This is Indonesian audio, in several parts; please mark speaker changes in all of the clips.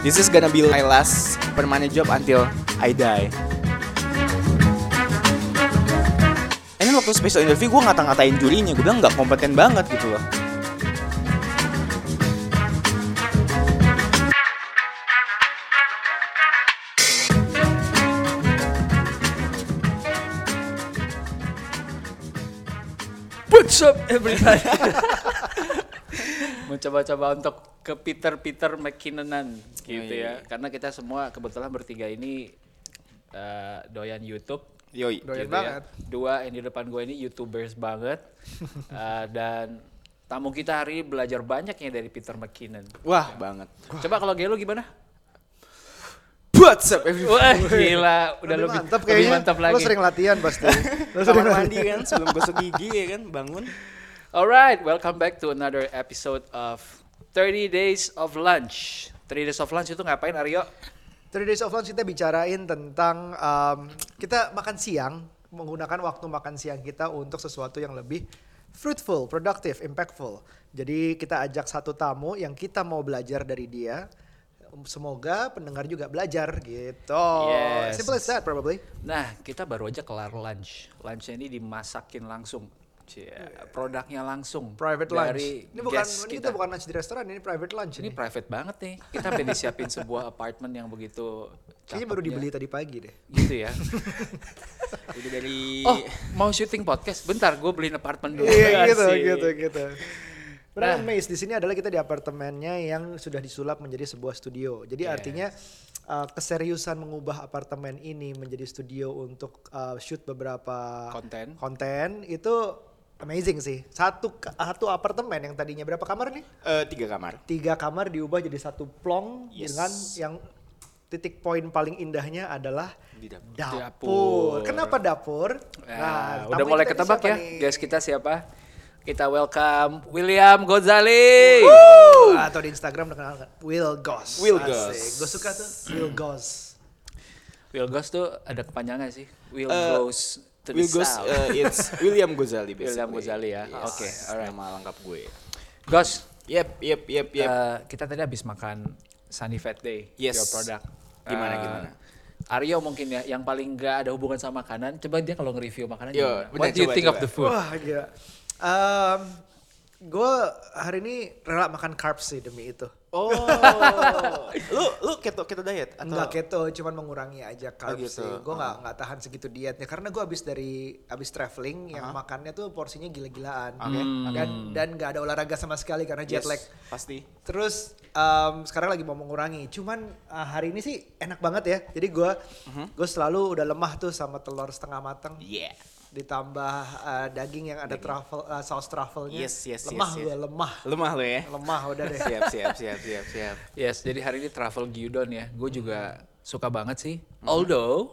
Speaker 1: This is gonna be my last permanent job until I die. And then waktu special interview gue ngata-ngatain jurinya, gue bilang nggak kompeten banget gitu loh.
Speaker 2: What's up everybody? Mencoba-coba untuk ke Peter Peter McKinnonan
Speaker 3: Oh, iya,
Speaker 2: gitu
Speaker 1: Yoi.
Speaker 2: ya. Karena kita semua kebetulan bertiga ini eh, doyan YouTube.
Speaker 1: Yoi.
Speaker 3: Doyan
Speaker 2: gitu ya.
Speaker 3: banget.
Speaker 2: Dua yang di depan gue ini YouTubers banget. Eh, dan tamu kita hari ini belajar banyaknya dari Peter McKinnon.
Speaker 1: Wah banget.
Speaker 2: Coba kalau Gelo gimana?
Speaker 1: What's up everyone?
Speaker 2: Wah, gila, udah
Speaker 3: Lebih
Speaker 2: lebih,
Speaker 3: mantap
Speaker 2: lebih
Speaker 3: kayaknya.
Speaker 2: mantap
Speaker 3: Lo
Speaker 2: lagi.
Speaker 3: sering latihan pasti. Lo sering
Speaker 1: Kamar mandi kan sebelum gosok gigi ya kan bangun.
Speaker 2: Alright, welcome back to another episode of 30 Days of Lunch. 30 Days of Lunch itu ngapain Aryo?
Speaker 3: Three Days of Lunch kita bicarain tentang um, kita makan siang menggunakan waktu makan siang kita untuk sesuatu yang lebih fruitful, productive, impactful. Jadi kita ajak satu tamu yang kita mau belajar dari dia. Semoga pendengar juga belajar gitu.
Speaker 2: Yes.
Speaker 3: Simple as that probably.
Speaker 2: Nah, kita baru aja kelar lunch. Lunchnya ini dimasakin langsung. Cie, Produknya langsung.
Speaker 3: Iya, Private
Speaker 2: dari
Speaker 3: lunch. Ini bukan
Speaker 2: guest
Speaker 3: ini
Speaker 2: kita.
Speaker 3: kita bukan lunch di restoran, ini private lunch
Speaker 2: Ini
Speaker 3: ini.
Speaker 2: private banget nih. Kita pengen disiapin sebuah apartemen yang begitu
Speaker 3: Kayaknya baru
Speaker 2: cakepnya.
Speaker 3: dibeli tadi pagi deh.
Speaker 2: Gitu ya.
Speaker 1: Jadi dari
Speaker 2: Oh, mau syuting podcast? Bentar, gue beliin apartemen dulu.
Speaker 3: Iya gitu
Speaker 2: Asik.
Speaker 3: gitu gitu. Brand Maze di sini adalah kita di apartemennya yang sudah disulap menjadi sebuah studio. Jadi artinya uh, keseriusan mengubah apartemen ini menjadi studio untuk uh, shoot beberapa
Speaker 2: Konten.
Speaker 3: konten itu amazing sih. Satu ka- satu apartemen yang tadinya berapa kamar nih?
Speaker 1: eh, tiga kamar.
Speaker 3: Tiga kamar diubah jadi satu plong
Speaker 1: Yes.
Speaker 3: dengan yang titik poin paling indahnya adalah
Speaker 1: Di dapur.
Speaker 3: dapur.
Speaker 2: Dapur.
Speaker 3: Kenapa dapur?
Speaker 2: Nah,
Speaker 3: tamunya
Speaker 2: udah mulai
Speaker 3: kita ini
Speaker 2: ketebak
Speaker 3: siapa
Speaker 2: ya,
Speaker 3: nih?
Speaker 2: guys kita siapa? Kita welcome William Gonzalez.
Speaker 3: atau di Instagram dikenal dengan Will Goss.
Speaker 1: Will
Speaker 3: Asik.
Speaker 1: Goss.
Speaker 3: Gue suka tuh Will Goss.
Speaker 2: Will Goes tuh ada kepanjangan sih. Will
Speaker 1: Eh,
Speaker 2: Goes to
Speaker 1: Will
Speaker 2: the
Speaker 1: goes,
Speaker 2: South.
Speaker 1: eh, it's William Gozali basically.
Speaker 2: William Gozali ya. Oke,
Speaker 1: alright. Nama lengkap gue.
Speaker 2: Gos,
Speaker 1: Yep, yep, yep, yep.
Speaker 2: eh, kita tadi habis makan Sunny Fat Day,
Speaker 1: Yes.
Speaker 2: your product.
Speaker 1: Gimana,
Speaker 2: Eh,
Speaker 1: gimana?
Speaker 2: Aryo mungkin ya, yang paling gak ada hubungan sama makanan. Coba dia kalau nge-review makanan
Speaker 1: Yo,
Speaker 2: gimana?
Speaker 1: bener,
Speaker 2: What do you
Speaker 1: coba,
Speaker 2: think of
Speaker 1: coba.
Speaker 2: the food?
Speaker 3: Wah gila. Um, gue hari ini rela makan carbs sih demi itu.
Speaker 1: Oh,
Speaker 2: Uh.
Speaker 1: lu lu keto keto diet atau
Speaker 3: Enggak keto, cuman mengurangi aja carbs
Speaker 1: Oh. gitu.
Speaker 3: sih. Gue nggak nggak tahan segitu dietnya karena gue abis dari abis traveling yang makannya tuh porsinya gila-gilaan.
Speaker 1: Oke, oke.
Speaker 3: Dan dan nggak ada olahraga sama sekali karena jet
Speaker 1: Hmm. Yes,
Speaker 3: lag.
Speaker 1: Pasti.
Speaker 3: Terus em, sekarang lagi mau mengurangi. Cuman eh, hari ini sih enak banget ya. Jadi gue
Speaker 1: Mhm.
Speaker 3: gue selalu udah lemah tuh sama telur setengah matang.
Speaker 1: Yeah.
Speaker 3: ditambah uh, daging yang ada truffle uh, saus truffle-nya.
Speaker 1: Yes, yes, yes,
Speaker 3: lemah
Speaker 1: yes.
Speaker 3: gue lemah.
Speaker 1: Lemah lo ya.
Speaker 3: Lemah udah deh.
Speaker 1: siap, siap, siap, siap, siap.
Speaker 2: Yes, jadi hari ini travel gyudon ya. Gue juga suka banget sih.
Speaker 1: Mm-hmm.
Speaker 2: Although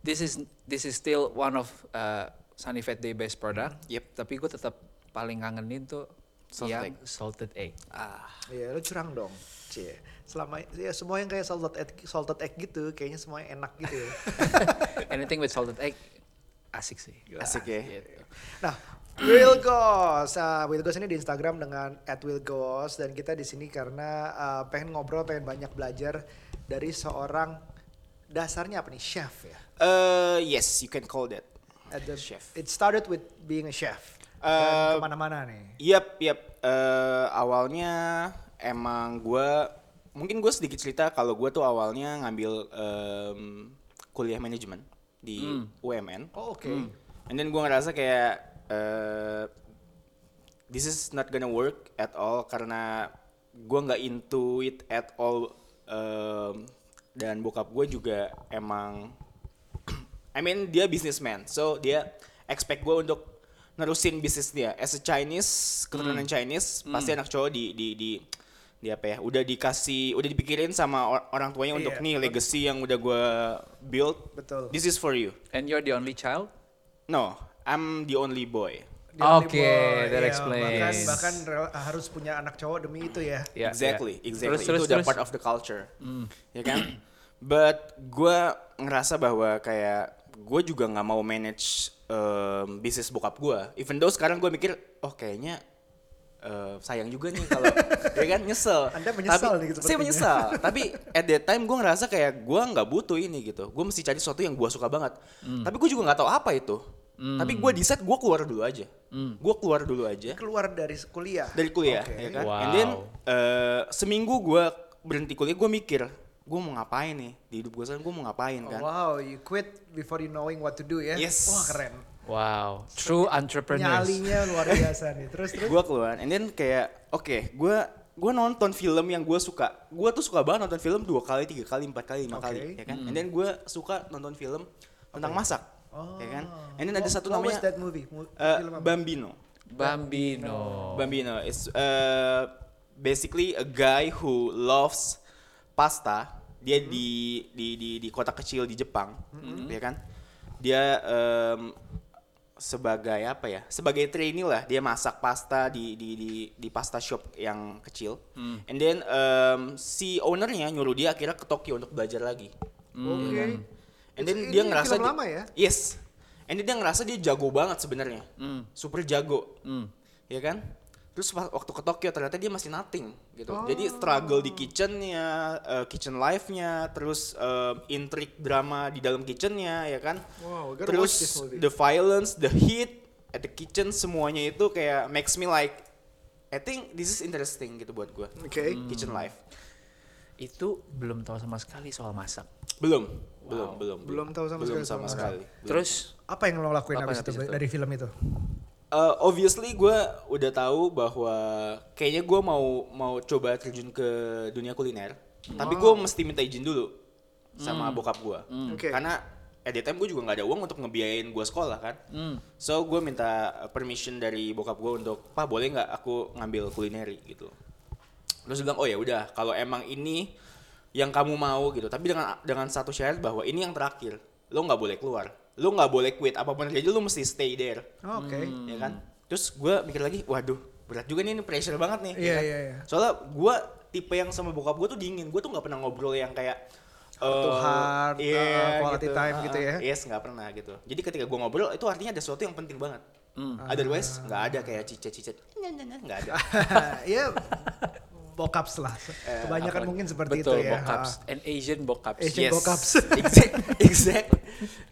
Speaker 2: this is this is still one of uh, Sunny Fat Day based product.
Speaker 1: Yep.
Speaker 2: Tapi gue tetap paling ngangenin tuh
Speaker 1: Salted
Speaker 2: yang
Speaker 1: egg.
Speaker 2: salted egg.
Speaker 1: Ah,
Speaker 3: Iya, lu curang dong. Cie. Selama ya semua yang kayak salted egg, salted egg gitu, kayaknya semuanya enak gitu ya.
Speaker 2: Anything with salted egg asik sih. Gila.
Speaker 1: Asik ya.
Speaker 2: Gitu.
Speaker 3: nah, Will Goss. Nah, Will Goss ini di Instagram dengan @willgoss dan kita di sini karena uh, pengen ngobrol, pengen banyak belajar dari seorang dasarnya apa nih chef ya.
Speaker 1: Eh, yes, you can call that.
Speaker 3: At the-
Speaker 1: Chef.
Speaker 3: It started with being a chef.
Speaker 1: Eh,
Speaker 3: Dan kemana-mana nih.
Speaker 1: Yap, yap. Eh, awalnya emang gua mungkin gue sedikit cerita kalau gua tuh awalnya ngambil em, kuliah manajemen di UMN.
Speaker 3: Oh, oke.
Speaker 1: And then gue ngerasa kayak eh, this is not gonna work at all karena gue nggak into it at all um, dan bokap gue juga emang I mean dia businessman so dia expect gue untuk nerusin bisnis dia as a Chinese keturunan
Speaker 3: Hmm.
Speaker 1: Chinese pasti anak cowok di di di di apa ya udah dikasih udah dipikirin sama or- orang tuanya untuk
Speaker 3: Iya.
Speaker 1: nih legacy yang udah gue build
Speaker 3: Betul.
Speaker 1: this is for you
Speaker 2: And you're the only child?
Speaker 1: No, I'm the only boy.
Speaker 3: The only
Speaker 2: Oke, that
Speaker 3: boy. kan Iya, Bahkan,
Speaker 2: explains.
Speaker 3: bahkan rela- harus punya anak cowok demi itu ya.
Speaker 1: Iya.
Speaker 2: Ya, ya.
Speaker 1: exactly, exactly.
Speaker 2: Terus, terus,
Speaker 1: itu udah
Speaker 2: terus. Hmm.
Speaker 1: part of the culture, ya kan? But gue ngerasa bahwa kayak gue juga nggak mau ehm, manage um, bisnis bokap gue. Even though sekarang gue mikir, oh kayaknya eh, sayang juga nih kalau ya kan nyesel.
Speaker 3: Anda menyesal
Speaker 1: Tapi-
Speaker 3: nih gitu
Speaker 1: Saya
Speaker 3: sepertinya.
Speaker 1: menyesal. Tapi at that time gue ngerasa kayak gue nggak butuh ini gitu. Gue mesti cari sesuatu yang gue suka banget.
Speaker 2: Hmm.
Speaker 1: Tapi gue juga nggak tahu apa itu. Tapi gue decide gue keluar dulu aja.
Speaker 2: Hmm.
Speaker 1: Gue keluar dulu aja
Speaker 3: keluar dari kuliah.
Speaker 1: dari kuliah
Speaker 3: Oke.
Speaker 1: ya kan
Speaker 2: Wow.
Speaker 1: and then eh, seminggu gue berhenti kuliah gue mikir gue mau ngapain nih di hidup gue sekarang gue mau ngapain kan
Speaker 3: Oh, Wow, you quit before you knowing what to do ya.
Speaker 1: Yes.
Speaker 3: Wah, keren.
Speaker 2: Wow, true entrepreneurs.
Speaker 3: Nyalinya luar biasa nih. Terus terus.
Speaker 1: gue keluar and then kayak oke gue gue nonton film yang gue suka gue tuh suka banget nonton film dua kali tiga kali empat kali lima
Speaker 3: Oke.
Speaker 1: kali ya kan and then gue suka nonton film tentang masak ya kan and then ada
Speaker 3: Oh. What-
Speaker 1: satu
Speaker 3: what was
Speaker 1: namanya
Speaker 3: that movie? Mu-
Speaker 1: eh,
Speaker 3: film apa?
Speaker 1: Bambino
Speaker 2: Bambino.
Speaker 1: Bambino is uh, basically a guy who loves pasta. Dia di di di di kota kecil di Jepang, ya kan? Dia um, sebagai apa ya? Sebagai trainee lah, dia masak pasta di di di di pasta shop yang kecil. And then um, si ownernya nyuruh dia akhirnya ke Tokyo untuk belajar lagi.
Speaker 3: Oke.
Speaker 1: Hmm. And then
Speaker 3: It's-
Speaker 1: dia
Speaker 3: ini
Speaker 1: ngerasa
Speaker 3: film
Speaker 1: di-
Speaker 3: lama ya?
Speaker 1: Yes. And then dia ngerasa dia jago banget sebenarnya.
Speaker 3: Hmm.
Speaker 1: Super jago. Ya kan? Terus pas- waktu ke Tokyo ternyata dia masih nothing gitu.
Speaker 3: Oh.
Speaker 1: Jadi struggle di kitchennya, eh, kitchen life-nya, terus eh, intrik drama di dalam kitchennya ya kan.
Speaker 3: Wow, gotta watch
Speaker 1: terus
Speaker 3: this movie.
Speaker 1: the violence, the heat at the kitchen semuanya itu kayak makes me like I think this is interesting gitu buat gua.
Speaker 3: Oke.
Speaker 1: Kitchen life.
Speaker 2: Itu belum tahu sama sekali soal masak.
Speaker 1: Belum, belum, belum.
Speaker 3: Belum tahu sama sekali soal
Speaker 1: sama
Speaker 3: masak.
Speaker 1: sekali. Belum.
Speaker 2: Terus
Speaker 3: Apa yang lo lakuin
Speaker 2: Apa
Speaker 3: abis,
Speaker 2: yang
Speaker 3: itu,
Speaker 2: abis itu?
Speaker 3: dari film itu?
Speaker 1: Uh, obviously gue udah tahu bahwa kayaknya gue mau mau coba terjun ke dunia kuliner, tapi gue mesti minta izin dulu sama bokap gue,
Speaker 3: Oke.
Speaker 1: karena at the time gue juga nggak ada uang untuk ngebiayain gue sekolah kan, so gue minta permission dari bokap gue untuk, pak boleh nggak aku ngambil kulineri gitu, terus dia bilang oh ya udah kalau emang ini yang kamu mau gitu, tapi dengan dengan satu syarat bahwa ini yang terakhir, lo nggak boleh keluar, lo nggak boleh quit apapun yang terjadi lo mesti stay there
Speaker 3: Oh, Oke.
Speaker 1: ya kan terus gue mikir lagi waduh berat juga nih ini pressure banget nih
Speaker 3: Iya,
Speaker 1: ya kan?
Speaker 3: iya, iya.
Speaker 1: soalnya gue tipe yang sama bokap gue tuh dingin gue tuh nggak pernah ngobrol yang kayak
Speaker 3: Heart to
Speaker 1: eh,
Speaker 3: heart,
Speaker 1: iya,
Speaker 3: uh, quality time
Speaker 1: uh,
Speaker 3: gitu ya.
Speaker 1: yes nggak pernah gitu jadi ketika gue ngobrol itu artinya ada sesuatu yang penting banget
Speaker 3: Hmm.
Speaker 1: otherwise nggak ada kayak cicet-cicet nyen, nyen, nyen, nggak ada
Speaker 3: ya bokaps lah.
Speaker 1: Eh,
Speaker 3: Kebanyakan
Speaker 2: apa-
Speaker 3: mungkin seperti
Speaker 2: betul,
Speaker 3: itu ya.
Speaker 2: bokaps. An Asian bokaps.
Speaker 3: Asian
Speaker 1: yes
Speaker 3: bokaps.
Speaker 1: exact exact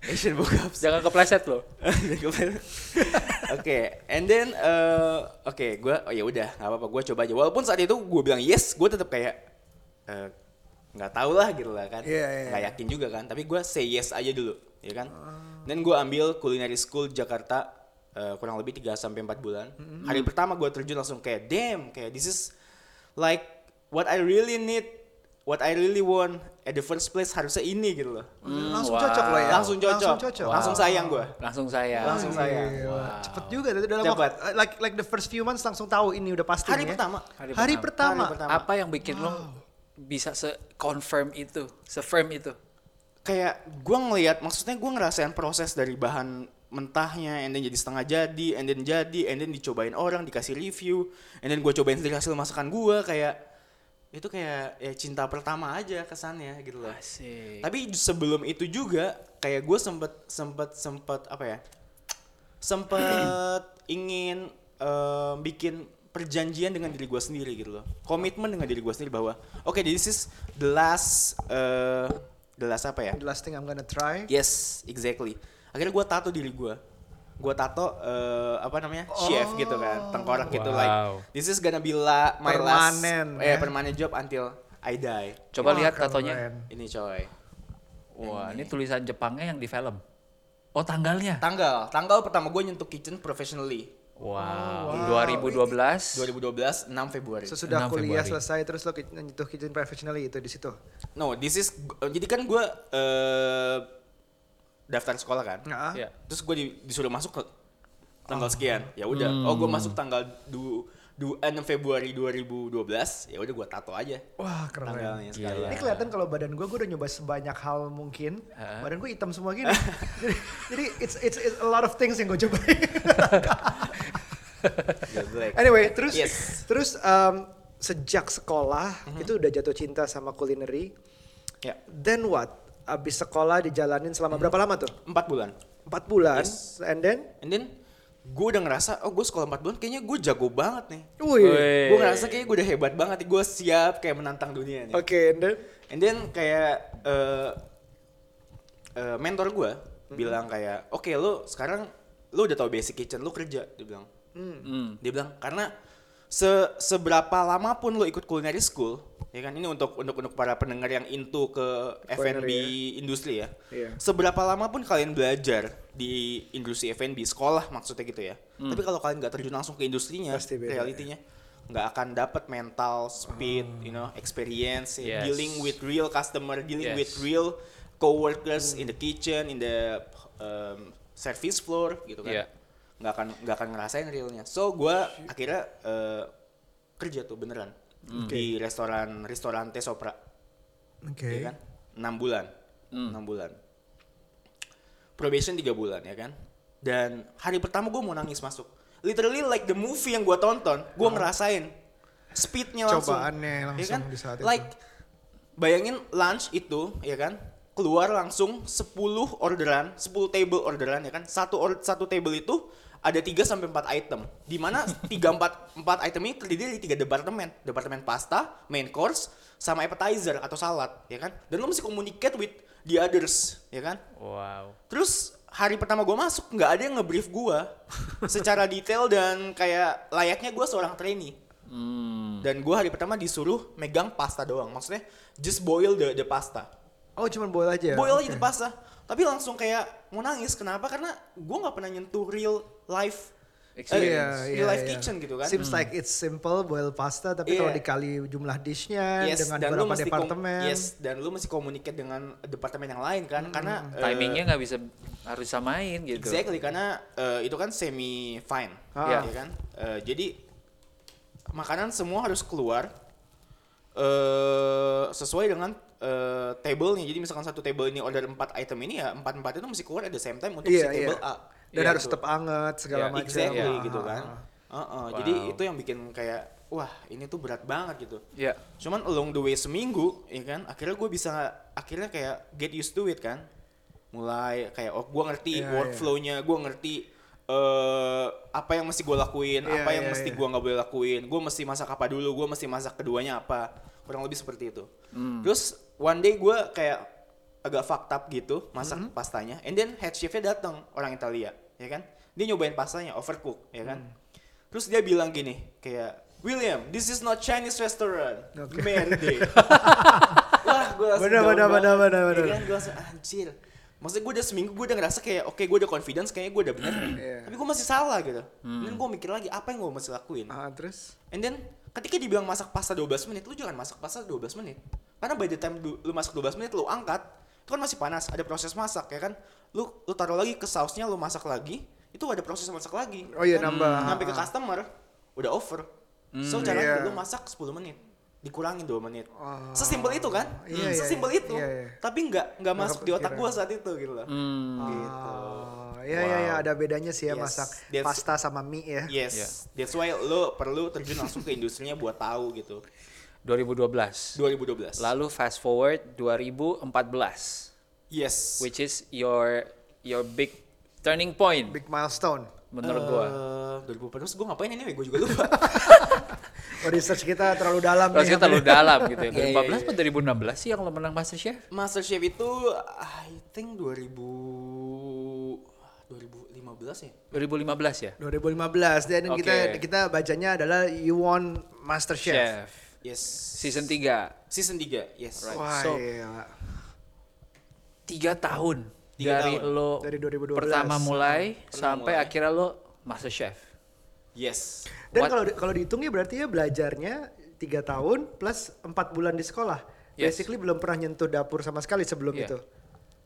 Speaker 1: Asian bokaps
Speaker 2: Jangan kepleset loh.
Speaker 1: oke and then eh, oke gue oh ya udah nggak apa-apa gue coba aja walaupun saat itu gue bilang yes gue tetap kayak eh, nggak tahu lah gitu lah kan
Speaker 3: Iya, iya,
Speaker 1: nggak
Speaker 3: iya. Oh.
Speaker 1: yakin juga kan tapi gue say yes aja dulu ya kan dan gue ambil culinary school Jakarta eh, kurang lebih 3 sampai empat bulan
Speaker 3: Mm-hmm.
Speaker 1: hari pertama gue terjun langsung kayak damn kayak this is like what I really need what I really want at the first place harusnya ini gitu loh
Speaker 3: Ha. Langsung
Speaker 2: Hmm, Wow.
Speaker 3: cocok lo ya.
Speaker 1: langsung cocok
Speaker 3: Langsung cocok. Iya,
Speaker 1: langsung sayang gue
Speaker 2: Langsung saya.
Speaker 1: Langsung saya.
Speaker 3: Gila, Cepet juga dari dalam
Speaker 1: Cepet.
Speaker 3: waktu- like like the first few months langsung tahu ini udah pasti
Speaker 1: Hari
Speaker 3: nih ya.
Speaker 1: pertama.
Speaker 3: Hari,
Speaker 2: Hari
Speaker 3: pertama.
Speaker 1: Hari pertama.
Speaker 2: Apa yang bikin lo bisa se-confirm itu, se-firm itu?
Speaker 1: kayak gue ngelihat maksudnya gue ngerasain proses dari bahan mentahnya and then jadi setengah jadi and then jadi and then dicobain orang dikasih review and then gue cobain sendiri hasil masakan gue kayak itu kayak ya cinta pertama aja kesannya gitu loh
Speaker 2: Asik.
Speaker 1: tapi sebelum itu juga kayak gue sempet sempet sempet apa ya sempet ingin eh, bikin perjanjian dengan diri gue sendiri gitu loh komitmen dengan diri gue sendiri bahwa oke this is the last eh, the last apa ya
Speaker 3: The last thing I'm gonna try.
Speaker 1: yes exactly akhirnya gue tato diri gue gue tato eh, apa namanya chef gitu kan tengkorak gitu like
Speaker 2: Wow.
Speaker 1: this is gonna be la, my last
Speaker 3: Permanen,
Speaker 1: eh
Speaker 3: ya.
Speaker 1: permanen job until I die
Speaker 2: Coba
Speaker 3: Wah,
Speaker 2: lihat
Speaker 3: Oh, keren.
Speaker 2: tatonya.
Speaker 1: ini coy
Speaker 2: Wah, ini tulisan Jepangnya yang di film. Oh, tanggalnya.
Speaker 1: Tanggal, tanggal pertama gue nyentuh kitchen professionally
Speaker 2: Wow.
Speaker 3: Oh, wow.
Speaker 2: 2012.
Speaker 1: 2012 6 Februari.
Speaker 3: Sesudah
Speaker 2: 6
Speaker 3: kuliah
Speaker 2: Februari.
Speaker 3: selesai terus lo ke- nyentuh kitchen professionally itu di situ.
Speaker 1: No, this is eh, jadi kan gue daftar sekolah kan.
Speaker 3: Nah,
Speaker 2: Ya.
Speaker 1: Terus gue disuruh masuk ke tanggal sekian. Ya udah. Oh, gue masuk tanggal du, du 6 Februari 2012. Ya udah gue tato aja
Speaker 3: Wah keren.
Speaker 1: tanggalnya
Speaker 2: Gila.
Speaker 1: sekalian.
Speaker 3: Ini kelihatan kalau badan gue, gue udah nyoba sebanyak hal mungkin.
Speaker 2: Heeh.
Speaker 3: Badan gue hitam semua gini. jadi, jadi it's, it's it's a lot of things yang gue cobain.
Speaker 1: Gila, black.
Speaker 3: anyway, terus
Speaker 1: Yes. Mhm.
Speaker 3: terus um, sejak sekolah itu udah jatuh cinta sama culinary.
Speaker 1: Ya.
Speaker 3: Then what?
Speaker 1: Mhm.
Speaker 3: Abis sekolah dijalanin selama berapa lama tuh?
Speaker 1: 4 bulan.
Speaker 3: Empat bulan. And then
Speaker 1: And then gue udah ngerasa oh gue sekolah 4 bulan kayaknya gue jago banget nih
Speaker 4: Wih.
Speaker 2: Wih.
Speaker 1: gue ngerasa kayaknya gue udah hebat banget nih gue siap kayak menantang dunia nih
Speaker 3: Oh,
Speaker 4: Oke, and then-
Speaker 1: And then kayak eh eh, mentor gue
Speaker 4: Mm-hmm.
Speaker 1: bilang kayak, oke lu sekarang lu udah tahu basic kitchen, lu kerja, dia bilang.
Speaker 4: Mm.
Speaker 1: Dia bilang karena se seberapa lama pun lu ikut culinary school, ya kan ini untuk untuk untuk para pendengar yang into ke F&B industri ya.
Speaker 4: ya. Iya.
Speaker 1: Seberapa lama pun kalian belajar di industri F&B sekolah maksudnya gitu ya. Tapi kalau kalian nggak terjun langsung ke
Speaker 4: Mm.
Speaker 1: industrinya,
Speaker 4: Pasti beda, ya.
Speaker 1: realitinya nggak akan dapat mental speed,
Speaker 4: Mm.
Speaker 1: you know, experience,
Speaker 2: Yes.
Speaker 1: dealing with real customer, dealing
Speaker 2: Yes.
Speaker 1: with real coworkers in the kitchen, in the um, service floor gitu kan.
Speaker 2: Iya.
Speaker 1: Nggak akan nggak akan ngerasain realnya. So gua akhirnya eh, kerja tuh beneran
Speaker 2: Hmm.
Speaker 1: di restoran Ristorante Sopra,
Speaker 4: Oke.
Speaker 1: ya kan? 6 bulan.
Speaker 2: Hmm.
Speaker 1: enam bulan. Probation 3 bulan ya kan. Dan hari pertama gua mau nangis masuk. Literally like the movie yang gua tonton, gua ngerasain speednya langsung.
Speaker 4: Cobaannya
Speaker 1: Ya
Speaker 4: langsung
Speaker 1: kan?
Speaker 4: di saat itu.
Speaker 1: like, bayangin lunch itu ya kan keluar langsung 10 orderan 10 table orderan ya kan satu or, satu table itu ada 3 sampai 4 item di mana 3 4 4 item ini terdiri dari 3 departemen departemen pasta main course sama appetizer atau salad ya kan dan lo mesti communicate with the others ya kan
Speaker 2: Wow.
Speaker 1: Terus hari pertama gue masuk nggak ada yang ngebrief gue secara detail dan kayak layaknya gue seorang trainee.
Speaker 2: Hmm.
Speaker 1: Dan gue hari pertama disuruh megang pasta doang. Maksudnya just boil the the pasta.
Speaker 4: Oh, cuman boil aja.
Speaker 3: ya?
Speaker 1: boil aja
Speaker 4: Oke.
Speaker 1: the pasta. Tapi langsung kayak mau nangis. Kenapa? Karena gue nggak pernah nyentuh real life eh,
Speaker 4: Iya, iya,
Speaker 1: real life
Speaker 4: iya.
Speaker 1: kitchen gitu kan.
Speaker 4: Seems like it's simple boil pasta, tapi
Speaker 1: Iya.
Speaker 4: kalau dikali jumlah dishnya
Speaker 1: Yes,
Speaker 4: dengan
Speaker 1: dan lu
Speaker 4: beberapa
Speaker 1: mesti kom-
Speaker 4: departemen. Hmm,
Speaker 1: yes, dan lu mesti communicate dengan departemen yang lain kan, karena eh,
Speaker 2: Timingnya nggak bisa harus samain gitu.
Speaker 1: Exactly karena eh, itu kan semi fine,
Speaker 4: Ah.
Speaker 1: ya kan. Eh, jadi makanan semua harus keluar eh sesuai dengan eh, table-nya. Jadi misalkan satu table ini order 4 item ini ya empat empat itu mesti keluar at the same time untuk
Speaker 4: Iya,
Speaker 1: si
Speaker 4: iya.
Speaker 1: table A.
Speaker 4: Dan
Speaker 2: Iya,
Speaker 4: harus
Speaker 1: gitu.
Speaker 4: tetap anget segala
Speaker 2: Iya,
Speaker 4: macam. Ah,
Speaker 1: Exactly
Speaker 2: Iya.
Speaker 1: gitu kan. Uh-uh, Jadi
Speaker 2: Wow.
Speaker 1: itu yang bikin kayak wah ini tuh berat banget gitu.
Speaker 2: Ya.
Speaker 1: Cuman along the way seminggu, ya kan, akhirnya gue bisa, akhirnya kayak get used to it kan. Mulai kayak, oh gue ngerti
Speaker 4: Iya,
Speaker 1: workflow-nya, gue ngerti eh apa yang mesti gue lakuin,
Speaker 4: Iya,
Speaker 1: apa yang
Speaker 4: iya,
Speaker 1: mesti
Speaker 4: iya.
Speaker 1: gua gue nggak boleh lakuin, gue mesti masak apa dulu, gue mesti masak keduanya apa, kurang lebih seperti itu.
Speaker 4: Hmm.
Speaker 1: Terus one day gue kayak agak fucked up gitu, masak
Speaker 4: Hmm.
Speaker 1: pastanya, and then head chefnya datang orang Italia, ya kan? Dia nyobain pastanya, overcook, ya
Speaker 4: Hmm.
Speaker 1: kan? Terus dia bilang gini, kayak William, this is not Chinese restaurant.
Speaker 4: Oke.
Speaker 1: Merde. Wah, gue langsung
Speaker 4: Bener,
Speaker 1: down
Speaker 4: bener, bener,
Speaker 1: banget.
Speaker 4: bener,
Speaker 1: Ya
Speaker 4: bener.
Speaker 1: kan, gue langsung anjir. Maksudnya gue udah seminggu gue udah ngerasa kayak oke gue udah confidence kayaknya gue udah bener.
Speaker 4: Iya.
Speaker 1: Tapi gue masih salah gitu. Dan gue mikir lagi apa yang gue masih lakuin.
Speaker 4: Ah, terus?
Speaker 1: And then ketika dibilang masak pasta 12 menit, lu jangan masak pasta 12 menit. Karena by the time du- lu masak 12 menit, lu angkat, itu kan masih panas, ada proses masak ya kan. Lu lu taruh lagi ke sausnya, lu masak lagi, itu ada proses masak lagi.
Speaker 4: Oh iya,
Speaker 1: kan?
Speaker 4: nambah.
Speaker 1: Sampai ke
Speaker 4: Ah.
Speaker 1: customer udah over. so caranya
Speaker 4: Iya.
Speaker 1: lu masak 10 menit, dikurangin 2 menit.
Speaker 4: Oh.
Speaker 1: Sesimpel itu kan?
Speaker 4: Iya, iya,
Speaker 1: Sesimpel
Speaker 4: iya,
Speaker 1: itu.
Speaker 4: iya, iya.
Speaker 1: Tapi nggak nggak masuk di otak
Speaker 4: kepikiran.
Speaker 1: gua saat itu gitu loh.
Speaker 2: Hmm.
Speaker 1: Gitu.
Speaker 4: Oh, ya ya ya ada bedanya sih ya
Speaker 1: Yes,
Speaker 4: masak
Speaker 1: that's-
Speaker 4: pasta sama mie ya.
Speaker 1: Yes,
Speaker 2: Iya.
Speaker 1: that's why lu perlu terjun langsung ke industrinya buat tahu gitu.
Speaker 2: 2012.
Speaker 1: 2012.
Speaker 2: Lalu fast forward 2014,
Speaker 1: Yes.
Speaker 2: which is your your big turning point
Speaker 4: Big milestone.
Speaker 2: menurut gua.
Speaker 1: Eh, 2014 gue ngapain ini? Gue juga lupa.
Speaker 4: Oh, research kita terlalu dalam
Speaker 2: Terus
Speaker 4: nih.
Speaker 2: kita terlalu dalam gitu ya.
Speaker 1: Iya, iya,
Speaker 2: 2014 atau 2016 sih yang lo menang MasterChef?
Speaker 1: MasterChef itu I think 2000 2015 ya.
Speaker 2: 2015 ya?
Speaker 4: 2015 dan
Speaker 2: Oke.
Speaker 4: kita kita bacanya adalah you won master chef.
Speaker 2: Chef.
Speaker 1: Yes.
Speaker 2: Season 3.
Speaker 1: Season 3. Yes.
Speaker 4: Wah,
Speaker 2: So-
Speaker 4: iya.
Speaker 2: 3 tahun
Speaker 1: Tiga
Speaker 2: dari
Speaker 1: tahun.
Speaker 2: lo
Speaker 4: Dari 2012.
Speaker 2: pertama mulai
Speaker 1: Pertama
Speaker 2: sampai
Speaker 1: mulai.
Speaker 2: akhirnya lo MasterChef.
Speaker 1: Yes.
Speaker 4: Dan
Speaker 2: What-
Speaker 4: kalau di- kalau dihitung ya berarti ya belajarnya tiga tahun plus empat bulan di sekolah.
Speaker 2: Yes.
Speaker 4: Basically belum pernah nyentuh dapur sama sekali sebelum
Speaker 2: Iya.
Speaker 4: itu.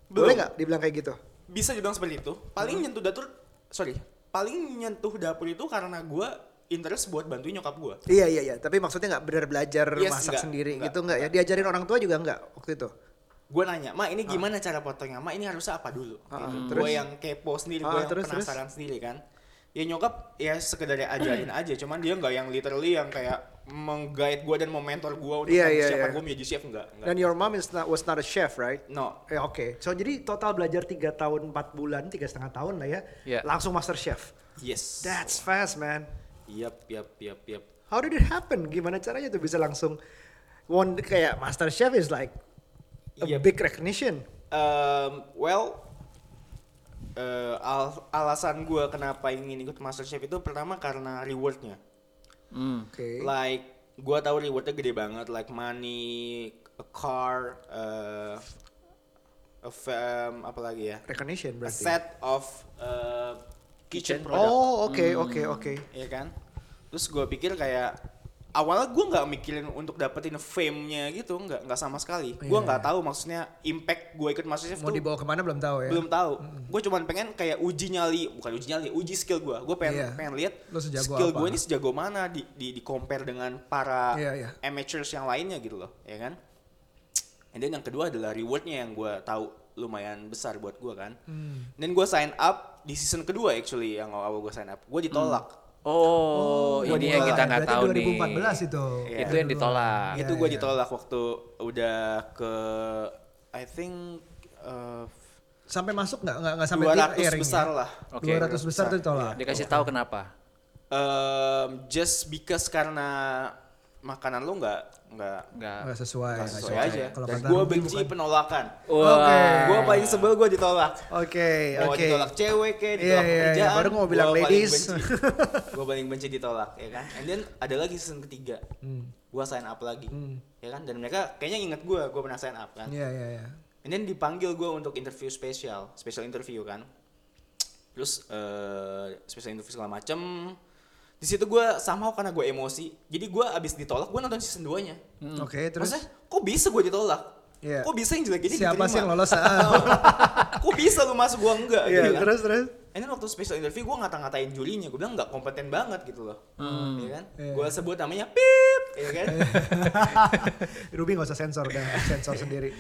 Speaker 1: Belum.
Speaker 4: Boleh nggak dibilang kayak gitu?
Speaker 1: Bisa dibilang seperti itu. Paling nyentuh dapur sorry, paling nyentuh dapur itu karena gue interest buat bantuin nyokap gue.
Speaker 4: Iya iya iya, tapi maksudnya nggak benar belajar
Speaker 1: Yes,
Speaker 4: masak
Speaker 1: nggak,
Speaker 4: sendiri
Speaker 1: nggak,
Speaker 4: gitu nggak ya? Diajarin orang tua juga nggak waktu itu?
Speaker 1: Gue nanya, ma ini gimana cara potongnya? Ma ini harusnya apa dulu?
Speaker 4: Ah,
Speaker 1: Gitu.
Speaker 4: terus?
Speaker 1: Gue yang kepo sendiri,
Speaker 4: Ah,
Speaker 1: gue yang
Speaker 4: terus, terus?
Speaker 1: ya penasaran sendiri kan. Ya nyokap ya sekedarnya ajarin aja, cuman dia nggak yang literally yang kayak menggait gue dan mementor gue untuk
Speaker 3: Iya, iya,
Speaker 1: siapa
Speaker 3: iya.
Speaker 1: gue menjadi chef enggak, enggak.
Speaker 3: Dan your mom is not, was not a chef, right?
Speaker 1: no
Speaker 3: Eh, Oke, so jadi total belajar 3 tahun 4 bulan, tiga setengah tahun lah ya,
Speaker 1: Iya.
Speaker 2: Yeah.
Speaker 3: langsung master chef.
Speaker 1: yes
Speaker 3: That's fast man.
Speaker 1: yep yep yep yep
Speaker 3: How did it happen? Gimana caranya tuh bisa langsung one kayak master chef is like a
Speaker 1: Yep.
Speaker 3: big recognition.
Speaker 1: Um, well, eh, al- alasan gue kenapa ingin ikut MasterChef itu pertama karena rewardnya.
Speaker 3: Oke.
Speaker 1: Hmm. Like gue tahu rewardnya gede banget, like money, a car, eh, a fam, apa lagi ya?
Speaker 3: Recognition
Speaker 1: A
Speaker 3: berarti.
Speaker 1: set of eh, kitchen
Speaker 2: Kitchen.
Speaker 1: product,
Speaker 3: Oh, oke oke oke.
Speaker 1: ya kan? Terus gue pikir kayak awalnya gue nggak mikirin untuk dapetin fame-nya gitu, nggak nggak sama sekali. Gue
Speaker 3: Iya.
Speaker 1: nggak tahu maksudnya impact gue ikut MasterChef
Speaker 3: Mau
Speaker 1: tuh
Speaker 3: dibawa kemana belum tahu ya?
Speaker 1: belum tahu gue cuman pengen kayak uji nyali bukan uji nyali uji skill gue gue pengen
Speaker 3: Iya.
Speaker 1: pengen lihat
Speaker 3: Lo sejago
Speaker 1: skill
Speaker 3: apa?
Speaker 1: gue ini sejago mana di di di compare dengan para
Speaker 3: Iya, iya.
Speaker 1: amateurs yang lainnya gitu loh ya kan and then yang kedua adalah rewardnya yang gue tahu lumayan besar buat gue kan
Speaker 3: Hmm.
Speaker 1: dan gue sign up di season kedua actually yang awal gue sign up
Speaker 3: Hmm.
Speaker 1: gue ditolak
Speaker 2: Oh,
Speaker 1: Gua
Speaker 2: ini yang
Speaker 1: ditolak.
Speaker 2: kita nggak tahu nih.
Speaker 3: Berarti 2014 itu.
Speaker 1: Iya.
Speaker 2: Itu yang ditolak.
Speaker 3: Iya,
Speaker 1: itu gue
Speaker 3: iya.
Speaker 1: ditolak waktu udah ke I think uh,
Speaker 3: Sampai masuk nggak nggak nggak sampai tier
Speaker 1: 200
Speaker 3: airing ya?
Speaker 1: besar lah
Speaker 2: Oke.
Speaker 3: 200 besar tuh ditolak.
Speaker 2: Dikasih tahu kenapa?
Speaker 1: Um, just because karena makanan lu nggak nggak
Speaker 2: Nggak.
Speaker 3: Nggak sesuai.
Speaker 1: nggak
Speaker 3: nggak
Speaker 1: sesuai
Speaker 3: cocok. ya.
Speaker 1: aja.
Speaker 3: Kalau
Speaker 1: Dan
Speaker 3: kata
Speaker 1: gue
Speaker 3: Ruby
Speaker 1: benci
Speaker 3: bukan.
Speaker 1: penolakan.
Speaker 3: Oke.
Speaker 2: Wah.
Speaker 1: Gue paling sebel gue ditolak.
Speaker 3: Oke
Speaker 1: Mau
Speaker 3: oke.
Speaker 1: ditolak cewek kayak
Speaker 3: Iya,
Speaker 1: ditolak
Speaker 3: iya, iya.
Speaker 1: pekerjaan.
Speaker 3: Baru gua mau bilang ladies.
Speaker 1: gue paling benci ditolak ya kan. And then ada lagi season ketiga.
Speaker 3: Hmm.
Speaker 1: Gue sign up lagi. Ya kan dan mereka kayaknya inget gue, gue pernah sign up kan.
Speaker 3: Iya iya iya.
Speaker 1: And then dipanggil gue untuk interview spesial, special interview kan. Terus eh special interview segala macem. Di situ gue somehow karena gue emosi, jadi gue abis ditolak gue nonton season 2 nya.
Speaker 3: Oke terus.
Speaker 1: Maksudnya, kok bisa gue ditolak?
Speaker 3: Iya.
Speaker 1: Kok bisa yang jelek gini
Speaker 3: Siapa
Speaker 1: diterima?
Speaker 3: sih yang lolos? Ah,
Speaker 1: kok bisa lu masuk gue enggak?
Speaker 3: Iya
Speaker 1: gitu kan.
Speaker 3: terus terus.
Speaker 1: And then waktu special interview gue ngata-ngatain julinya, gue bilang nggak kompeten banget gitu loh. Iya kan?
Speaker 3: Iya.
Speaker 1: Gue sebut namanya Pip, ya kan?
Speaker 3: Ruby nggak usah sensor dah, sensor sendiri.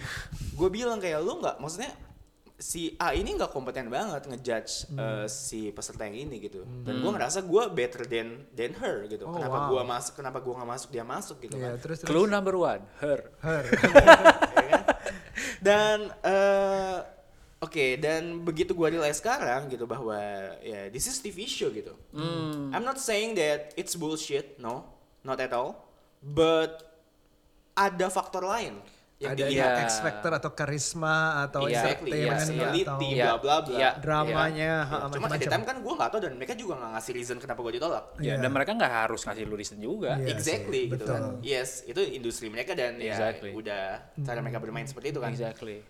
Speaker 1: gue bilang kayak lu nggak maksudnya si A ini nggak kompeten banget ngejudge
Speaker 3: Hmm.
Speaker 1: eh, si peserta yang ini gitu dan gue ngerasa gue better than than her gitu
Speaker 3: Oh,
Speaker 1: kenapa
Speaker 3: wow.
Speaker 1: gua masuk kenapa gue nggak masuk dia masuk gitu kan
Speaker 3: Iya terus terus.
Speaker 2: Clue number one, her.
Speaker 3: Her.
Speaker 1: Ya kan? dan eh, oke dan begitu gue realize sekarang gitu bahwa ya this is TV show gitu
Speaker 3: Hmm.
Speaker 1: I'm not saying that it's bullshit no not at all but ada faktor lain yang
Speaker 3: Ada
Speaker 1: dilihat
Speaker 3: ya X Factor atau karisma atau
Speaker 2: Iya,
Speaker 1: exactly
Speaker 2: iya, iya.
Speaker 3: entertainment
Speaker 1: personality
Speaker 3: atau
Speaker 2: Iya.
Speaker 1: bla bla bla
Speaker 2: Iya.
Speaker 3: dramanya, ha,
Speaker 1: Ya, Cuman at the
Speaker 3: macam-macam.
Speaker 1: time kan gue gak tau dan mereka juga gak ngasih reason kenapa gue ditolak.
Speaker 2: Ya,
Speaker 3: Iya.
Speaker 2: dan mereka nggak harus ngasih lu reason juga.
Speaker 3: Iya.
Speaker 1: exactly
Speaker 3: sih,
Speaker 1: gitu
Speaker 3: betul.
Speaker 1: kan. Yes, itu industri mereka dan
Speaker 2: Exactly.
Speaker 1: ya udah cara mereka bermain seperti itu kan.
Speaker 2: Exactly.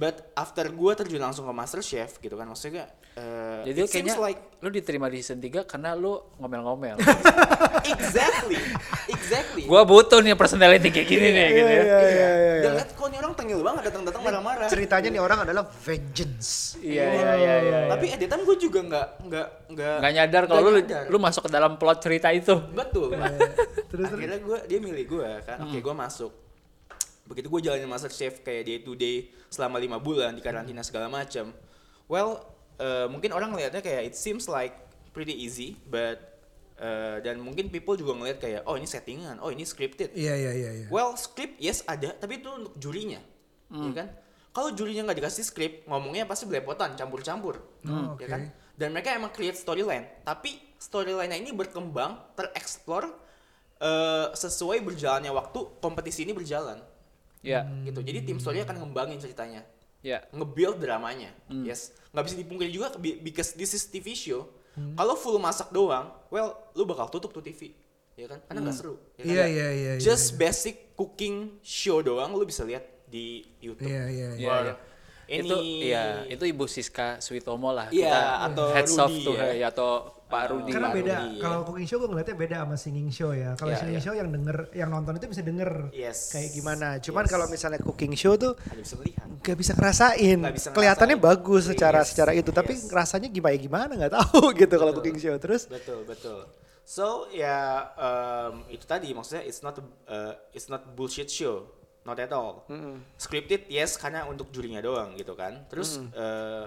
Speaker 1: But after gue terjun langsung ke Master Chef gitu kan maksudnya eh,
Speaker 2: Jadi
Speaker 1: it
Speaker 2: lu kayaknya
Speaker 1: seems like
Speaker 2: lu diterima di season 3 karena lu ngomel-ngomel.
Speaker 1: exactly exactly.
Speaker 2: gua butuh nih personality kayak gini nih gitu ya.
Speaker 3: Iya, iya, iya, iya.
Speaker 1: Dan lihat kok ini orang tengil banget datang-datang marah-marah.
Speaker 3: Ceritanya nih orang adalah vengeance.
Speaker 2: Iya iya iya iya.
Speaker 1: Tapi at the time gue juga nggak nggak nggak
Speaker 2: Nggak nyadar kalau lu
Speaker 1: nggak nyadar.
Speaker 2: lu masuk ke dalam plot cerita itu.
Speaker 1: betul.
Speaker 3: Iya. Terus Hmm. terus.
Speaker 1: akhirnya gue dia milih gue kan oke gue masuk begitu gue jalanin master chef kayak day to day selama lima bulan di karantina segala macam well eh, mungkin orang ngelihatnya kayak it seems like pretty easy but eh, dan mungkin people juga ngelihat kayak oh ini settingan oh ini scripted
Speaker 3: Iya iya iya iya.
Speaker 1: well script yes ada tapi itu untuk jurinya
Speaker 3: Hmm.
Speaker 1: ya kan kalau jurinya nggak dikasih script ngomongnya pasti belepotan campur-campur
Speaker 3: Hmm,
Speaker 1: ya
Speaker 3: oke.
Speaker 1: kan dan mereka emang create storyline tapi storyline ini berkembang tereksplor eh, sesuai berjalannya waktu kompetisi ini berjalan
Speaker 2: Ya.
Speaker 3: Hmm.
Speaker 1: gitu jadi tim story akan ngembangin ceritanya
Speaker 2: Ya.
Speaker 1: nge-build dramanya
Speaker 3: Hmm.
Speaker 1: yes nggak bisa dipungkiri juga be- because this is TV show
Speaker 3: Hmm.
Speaker 1: kalau full masak doang well lu bakal tutup tuh TV ya kan karena nggak seru ya kan?
Speaker 3: Iya iya iya. iya.
Speaker 1: just basic cooking show doang lu bisa lihat di YouTube.
Speaker 3: Iya iya iya.
Speaker 2: Iya,
Speaker 1: Or
Speaker 2: iya.
Speaker 1: Any
Speaker 2: Itu ya, itu Ibu Siska Suitomo lah.
Speaker 1: Iya,
Speaker 2: Kita
Speaker 1: atau
Speaker 2: heads off
Speaker 1: Rudy
Speaker 2: to
Speaker 1: ya.
Speaker 2: her ya atau Pak Rudi.
Speaker 3: Karena
Speaker 1: Baru
Speaker 3: beda
Speaker 1: di-
Speaker 3: kalau cooking show gue ngeliatnya beda sama singing show ya. Kalau
Speaker 1: Iya,
Speaker 3: singing
Speaker 1: iya.
Speaker 3: show yang denger yang nonton itu bisa denger
Speaker 1: Yes.
Speaker 3: kayak gimana. Cuman
Speaker 1: Yes.
Speaker 3: kalau misalnya cooking show tuh
Speaker 1: ada bisa melihat.
Speaker 3: gak bisa ngerasain.
Speaker 1: Nggak bisa
Speaker 3: Kelihatannya
Speaker 1: ngerasain.
Speaker 3: bagus secara
Speaker 1: Yes,
Speaker 3: secara itu, tapi
Speaker 1: yes.
Speaker 3: rasanya gimana ya gimana nggak tahu gitu kalau cooking show. Terus
Speaker 1: Betul, betul. So, ya em, itu tadi maksudnya it's not a, eh, it's not bullshit show. Not at all. Scripted yes karena untuk jurinya doang gitu kan. Terus eh,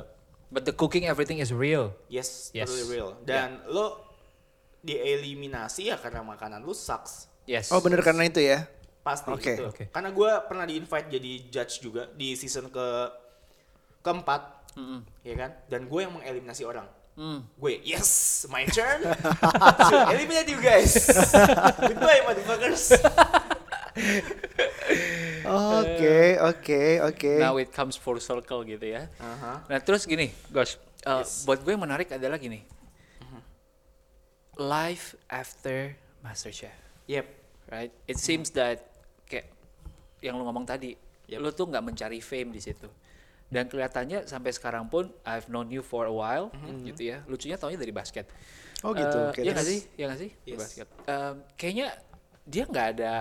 Speaker 2: But the cooking everything is real.
Speaker 1: yes,
Speaker 2: Yes.
Speaker 1: totally real. Dan lo dieliminasi ya karena ya makanan lu sucks.
Speaker 2: Yes.
Speaker 3: Oh bener karena itu ya.
Speaker 1: Pasti
Speaker 3: Oke.
Speaker 1: itu.
Speaker 2: Oke.
Speaker 1: Karena gue pernah di invite jadi judge juga di season ke keempat, ya kan? Dan gue yang mengeliminasi orang. Gue yes, my turn. so, eliminate you guys. Goodbye motherfuckers. Eh,
Speaker 3: Oke, oke, oke.
Speaker 1: nah,
Speaker 2: Now it comes full circle gitu ya.
Speaker 1: Aha.
Speaker 2: Nah terus gini, Gosh, uh, buat gue yang menarik adalah gini, life after MasterChef,
Speaker 1: Yep.
Speaker 2: right? It seems that kayak yang lu ngomong tadi,
Speaker 1: Yep.
Speaker 2: lu tuh nggak mencari fame di situ. Dan kelihatannya sampai sekarang pun I've known you for a while, gitu ya. Lucunya taunya dari basket.
Speaker 3: Oh,
Speaker 2: Eh,
Speaker 3: gitu, oke,
Speaker 2: Iya
Speaker 3: terus?
Speaker 2: nggak sih? Iya nggak sih? Di
Speaker 1: Yes.
Speaker 2: Basket. Em, kayaknya dia nggak ada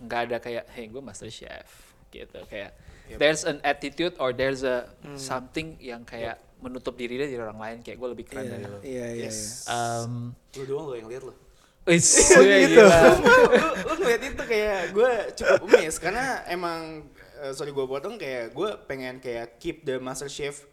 Speaker 2: nggak ada kayak hey gue master chef gitu kayak there's an attitude or there's a something yang kayak menutup diri dia dari orang lain kayak gue lebih keren dari lo.
Speaker 3: Iya, iya, iya.
Speaker 1: Yes.
Speaker 2: Em,
Speaker 1: Lu
Speaker 2: iya.
Speaker 1: doang lo yang lihat lo.
Speaker 2: it's-
Speaker 3: gitu.
Speaker 2: gila.
Speaker 1: lu, lu ngeliat itu kayak gue cukup umis karena emang eh, sorry gue potong kayak gue pengen kayak keep the master chef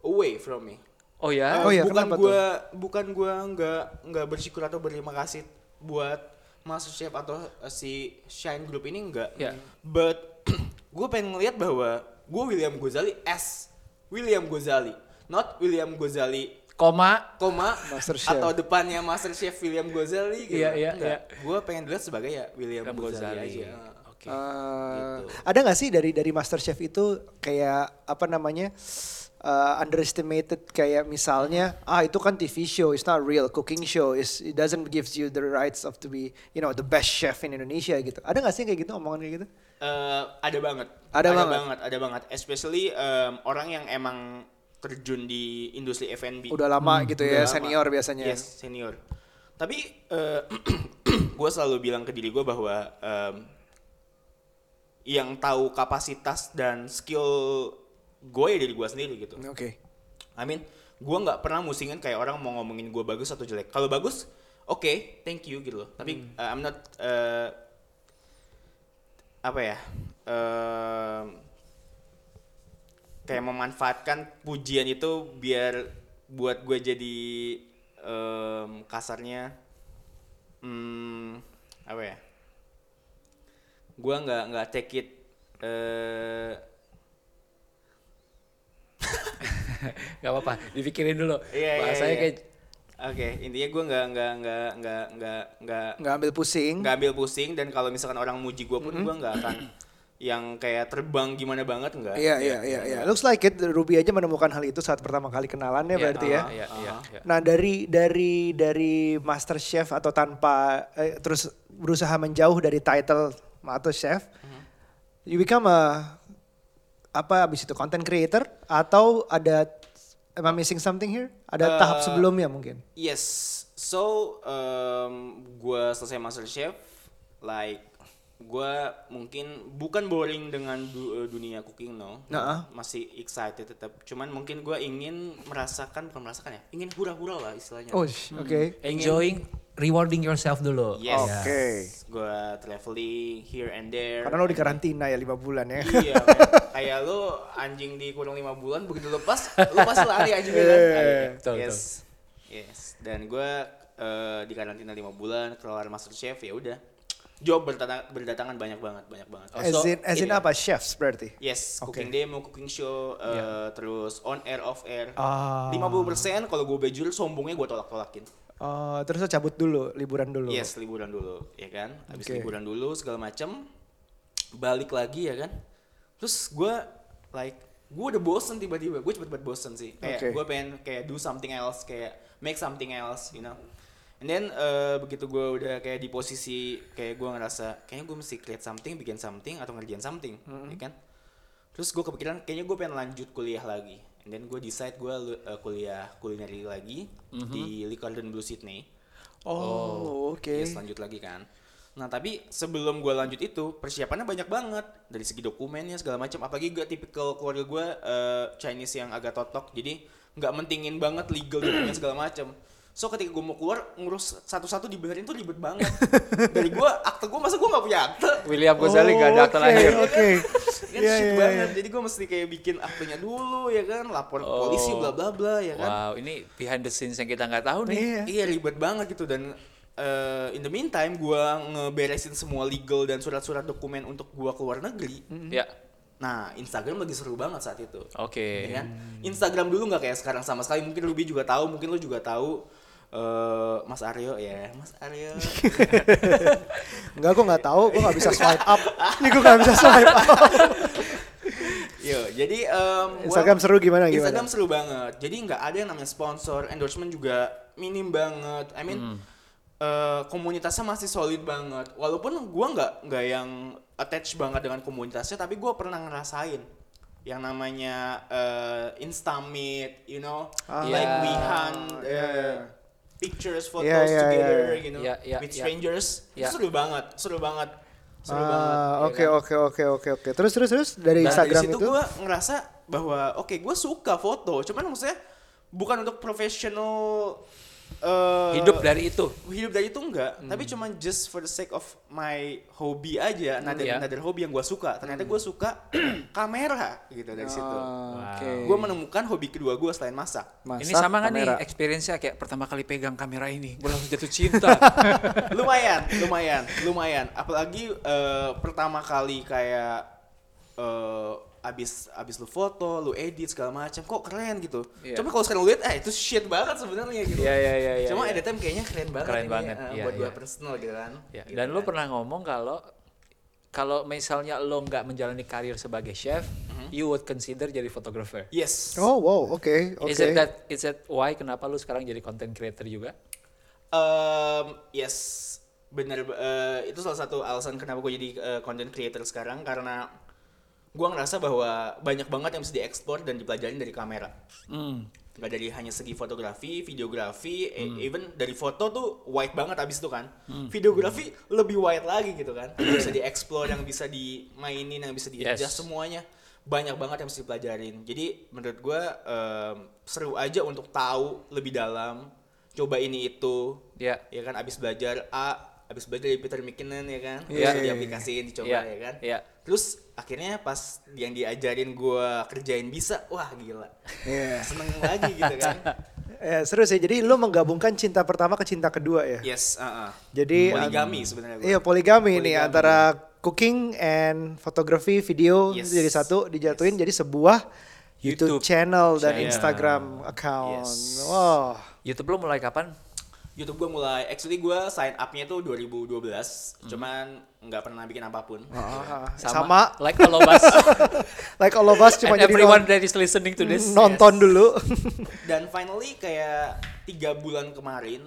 Speaker 1: away from me.
Speaker 2: Oh ya.
Speaker 1: Eh,
Speaker 3: Oh iya,
Speaker 1: bukan
Speaker 3: kenapa
Speaker 1: gue bukan gue nggak nggak bersyukur atau berterima kasih buat master chef atau eh, si Shine Group ini enggak.
Speaker 2: Iya.
Speaker 1: But gue pengen ngeliat bahwa gue William Gozali as William Gozali, not William Gozali
Speaker 2: Koma
Speaker 1: koma
Speaker 3: Master Chef.
Speaker 1: atau depannya Master Chef William Gozali gitu.
Speaker 2: Iya, iya,
Speaker 1: Enggak. Gua pengen dilihat sebagai ya William
Speaker 2: William
Speaker 1: Gozali,
Speaker 2: Gozali.
Speaker 1: aja.
Speaker 2: Oke.
Speaker 3: Ah, Ada nggak sih dari dari MasterChef itu kayak apa namanya uh, underestimated kayak misalnya ah itu kan TV show, it's not real cooking show, is it doesn't gives you the rights of to be you know the best chef in Indonesia gitu. Ada nggak sih kayak gitu omongan kayak gitu?
Speaker 1: Eh, ada banget.
Speaker 3: Ada
Speaker 1: ada
Speaker 3: banget.
Speaker 1: banget, ada banget. Especially em, orang yang emang terjun di industri F&B.
Speaker 3: Udah lama gitu
Speaker 1: Udah lama.
Speaker 3: ya senior biasanya.
Speaker 1: Yes, senior. Tapi eh gue selalu bilang ke diri gue bahwa em, yang tahu kapasitas dan skill gue ya dari gue sendiri gitu.
Speaker 3: Oke.
Speaker 1: I mean, gue nggak pernah musingin kayak orang mau ngomongin gue bagus atau jelek. Kalau bagus, oke, thank you gitu loh. Tapi uh, I'm not uh, apa ya um, kayak memanfaatkan pujian itu biar buat gue jadi um, kasarnya hmm, apa ya? Gue nggak nggak take it eh,
Speaker 2: Gak apa-apa, dipikirin dulu.
Speaker 1: Iya, iya,
Speaker 2: Bahasanya
Speaker 1: iya.
Speaker 2: kayak
Speaker 1: Oke, intinya gue nggak nggak nggak nggak nggak nggak
Speaker 3: Nggak ambil pusing.
Speaker 1: nggak ambil pusing dan kalau misalkan orang muji gue pun gue nggak akan yang kayak terbang gimana banget nggak.
Speaker 3: Iya iya iya iya. Looks like it Ruby aja menemukan hal itu saat pertama kali kenalannya berarti ya.
Speaker 2: ah, Iya, iya, iya.
Speaker 3: Nah dari dari dari Master Chef atau tanpa eh, terus berusaha menjauh dari title atau chef,
Speaker 1: Mhm.
Speaker 3: you become a apa abis itu content creator atau ada am I missing something here?
Speaker 1: Eh,
Speaker 3: Ada tahap sebelumnya mungkin.
Speaker 1: Yes, so gue selesai master chef, like gue mungkin bukan boring dengan du- eh, dunia cooking no,
Speaker 3: Nah,
Speaker 1: masih excited tetap. Cuman mungkin gue ingin merasakan bukan merasakan ya, ingin hura-hura lah istilahnya.
Speaker 3: Oh sh- oke.
Speaker 2: Enjoying, rewarding yourself dulu.
Speaker 1: Yes.
Speaker 3: Oke.
Speaker 1: Gue traveling here and there.
Speaker 3: Karena lo di karantina ya lima bulan ya.
Speaker 1: iya, men. kayak lo anjing di kurung lima bulan begitu lepas, lepas lari
Speaker 3: Iya,
Speaker 1: anjing kan.
Speaker 2: betul,
Speaker 1: yes, yes. Dan gue di karantina lima bulan, keluar master chef ya udah. Job bertata- berdatangan banyak banget, banyak banget.
Speaker 3: as in as in
Speaker 1: iya.
Speaker 3: apa chefs berarti?
Speaker 1: Yes,
Speaker 3: Eh, Oke. Iya.
Speaker 1: cooking demo, cooking show, eh, terus on air, off air.
Speaker 3: Ah.
Speaker 1: 50% kalau gue bejul sombongnya gue tolak-tolakin.
Speaker 3: Oh, terus lo cabut dulu, liburan dulu.
Speaker 1: Yes, liburan dulu, ya kan? Habis
Speaker 3: Oke.
Speaker 1: liburan dulu segala macem balik lagi ya kan? Terus gue like gue udah bosen tiba-tiba, gue cepet-cepet bosen sih. Kayak
Speaker 3: Oke.
Speaker 1: gue pengen kayak do something else, kayak make something else, you know. And then eh, begitu gue udah kayak di posisi kayak gue ngerasa kayaknya gue mesti create something, bikin something atau ngerjain something, ya kan? Terus gue kepikiran kayaknya gue pengen lanjut kuliah lagi. And then gue decide gue kuliah kulineri lagi
Speaker 3: Mm-hmm.
Speaker 1: di Lee Cordon Blue Sydney.
Speaker 3: Oh, oke.
Speaker 1: Yes, lanjut lagi kan. Nah tapi sebelum gue lanjut itu persiapannya banyak banget dari segi dokumennya segala macam. Apalagi gue tipikal keluarga gue eh, Chinese yang agak totok, jadi nggak mentingin banget legal dokumen segala macam. So ketika gue mau keluar ngurus satu-satu dibenerin tuh ribet banget. dari gue akte gue masa gue nggak punya akte.
Speaker 2: William Gozali gak ada akte
Speaker 3: Oke,
Speaker 2: lahir.
Speaker 3: Oke.
Speaker 1: Kan
Speaker 3: Oh, Iya,
Speaker 1: shit
Speaker 3: iya,
Speaker 1: banget. Jadi gue mesti kayak bikin aktenya dulu ya kan, lapor ke polisi
Speaker 2: Oh.
Speaker 1: bla bla bla ya kan.
Speaker 2: Wow, ini behind the scenes yang kita nggak tahu nih.
Speaker 3: Iya.
Speaker 1: Iya ribet banget gitu dan eh, in the meantime gua ngeberesin semua legal dan surat-surat dokumen untuk gua keluar negeri.
Speaker 2: Ya.
Speaker 1: Nah, Instagram lagi seru banget saat itu.
Speaker 3: Iya.
Speaker 2: Oke.
Speaker 1: Ya kan? Instagram dulu nggak kayak sekarang sama sekali. Mungkin Ruby juga tahu, mungkin lu juga tahu eh, Mas Aryo ya, Mas Aryo.
Speaker 3: Enggak, gue nggak tahu, gue nggak bisa swipe up. Ini gue nggak bisa swipe up.
Speaker 1: Yo, jadi em, gua-
Speaker 3: Instagram seru gimana gimana?
Speaker 1: Instagram seru banget. Jadi nggak ada yang namanya sponsor, endorsement juga minim banget. I mean
Speaker 2: Hmm.
Speaker 1: eh, komunitasnya masih solid banget. Walaupun gua nggak nggak yang attach banget dengan komunitasnya, tapi gua pernah ngerasain yang namanya eh, Instamate, you know,
Speaker 3: Ah,
Speaker 1: like we
Speaker 3: yeah.
Speaker 1: hunt eh,
Speaker 3: Yeah, yeah.
Speaker 1: pictures, photos
Speaker 3: Yeah, yeah,
Speaker 1: together,
Speaker 3: yeah, yeah.
Speaker 1: you know,
Speaker 2: Yeah, yeah,
Speaker 1: with
Speaker 2: yeah.
Speaker 1: strangers. Itu
Speaker 2: Yeah.
Speaker 1: Seru banget, seru banget, seru
Speaker 3: Ah,
Speaker 1: banget. ya
Speaker 3: Oke
Speaker 1: kan?
Speaker 3: oke oke oke oke. Terus terus terus dari
Speaker 1: Nah,
Speaker 3: Instagram
Speaker 1: dari situ
Speaker 3: itu.
Speaker 1: gue ngerasa bahwa oke gue suka foto, cuman maksudnya bukan untuk profesional eh,
Speaker 2: Hidup dari itu.
Speaker 1: hidup dari itu enggak,
Speaker 3: Hmm.
Speaker 1: tapi cuman just for the sake of my hobby aja,
Speaker 3: Hmm,
Speaker 1: another,
Speaker 2: iya.
Speaker 1: another hobi yang gue suka. Ternyata gue suka kamera gitu dari situ.
Speaker 3: Ah, Oke.
Speaker 1: Gue menemukan hobi kedua gue selain masak.
Speaker 2: ini
Speaker 3: Masak,
Speaker 2: sama nggak nih
Speaker 3: kamera.
Speaker 2: experience-nya kayak pertama kali pegang kamera ini, gue langsung jatuh cinta.
Speaker 1: lumayan, lumayan, lumayan. Apalagi eh, pertama kali kayak eh, abis abis lu foto, lu edit segala macam, kok keren gitu.
Speaker 2: Iya.
Speaker 1: Cuma kalau sekarang lu lihat, eh itu shit banget sebenarnya gitu.
Speaker 2: Iya, iya, iya, iya,
Speaker 1: Cuma at
Speaker 2: iya.
Speaker 1: the time kayaknya keren banget
Speaker 2: Keren
Speaker 1: ini,
Speaker 2: banget,
Speaker 1: eh,
Speaker 2: iya,
Speaker 1: buat gua
Speaker 2: iya.
Speaker 1: personal gitu kan.
Speaker 2: Ya,
Speaker 1: Gitu
Speaker 2: dan lo
Speaker 1: kan.
Speaker 2: pernah ngomong kalau kalau misalnya lo nggak menjalani karir sebagai chef,
Speaker 1: Mm-hmm.
Speaker 2: you would consider jadi fotografer.
Speaker 1: Yes.
Speaker 3: Oh wow oke oke.
Speaker 2: Is it that is it why kenapa lo sekarang jadi content creator juga?
Speaker 1: Em, yes, bener. eh, itu salah satu alasan kenapa gue jadi eh, content creator sekarang karena gue ngerasa bahwa banyak banget yang bisa diekspor dan dipelajarin dari kamera. Gak dari hanya segi fotografi, videografi, e- even dari foto tuh wide banget abis itu kan. Videografi lebih wide lagi gitu kan. Yang bisa dieksplor, yang bisa dimainin, yang bisa di
Speaker 2: Yes.
Speaker 1: adjust semuanya. Banyak banget yang bisa dipelajarin. Jadi menurut gua em, seru aja untuk tahu lebih dalam. Coba ini itu.
Speaker 2: Ya.
Speaker 1: Ya kan abis belajar A, abis belajar dari Peter McKinnon ya kan.
Speaker 2: Iya.
Speaker 1: Terus diaplikasiin, dicoba
Speaker 2: Iya,
Speaker 1: ya kan.
Speaker 2: iya.
Speaker 1: Terus akhirnya pas yang diajarin gua kerjain bisa, wah gila.
Speaker 3: Iya.
Speaker 1: Seneng lagi gitu kan.
Speaker 3: Eh, seru sih. Jadi lu menggabungkan cinta pertama ke cinta kedua ya.
Speaker 1: Yes, uh-uh.
Speaker 3: Jadi
Speaker 1: poligami
Speaker 3: an-
Speaker 1: sebenarnya. gua.
Speaker 3: Iya poligami, nih
Speaker 1: Poligami.
Speaker 3: antara cooking and fotografi video
Speaker 1: Yes.
Speaker 3: itu jadi satu dijatuhin jadi sebuah YouTube,
Speaker 2: YouTube
Speaker 3: channel dan
Speaker 2: channel.
Speaker 3: Instagram account.
Speaker 1: Yes.
Speaker 3: Wow.
Speaker 2: YouTube lo mulai kapan?
Speaker 1: YouTube gue mulai actually gue sign up-nya tuh 2012,
Speaker 2: Hmm.
Speaker 1: cuman nggak pernah bikin apapun.
Speaker 3: Ah, sama.
Speaker 2: Sama, like all of us
Speaker 3: Like all of us cuma
Speaker 2: and
Speaker 3: jadi
Speaker 2: everyone
Speaker 3: non-
Speaker 2: that is listening to this.
Speaker 3: nonton dulu.
Speaker 1: Dan finally kayak tiga bulan kemarin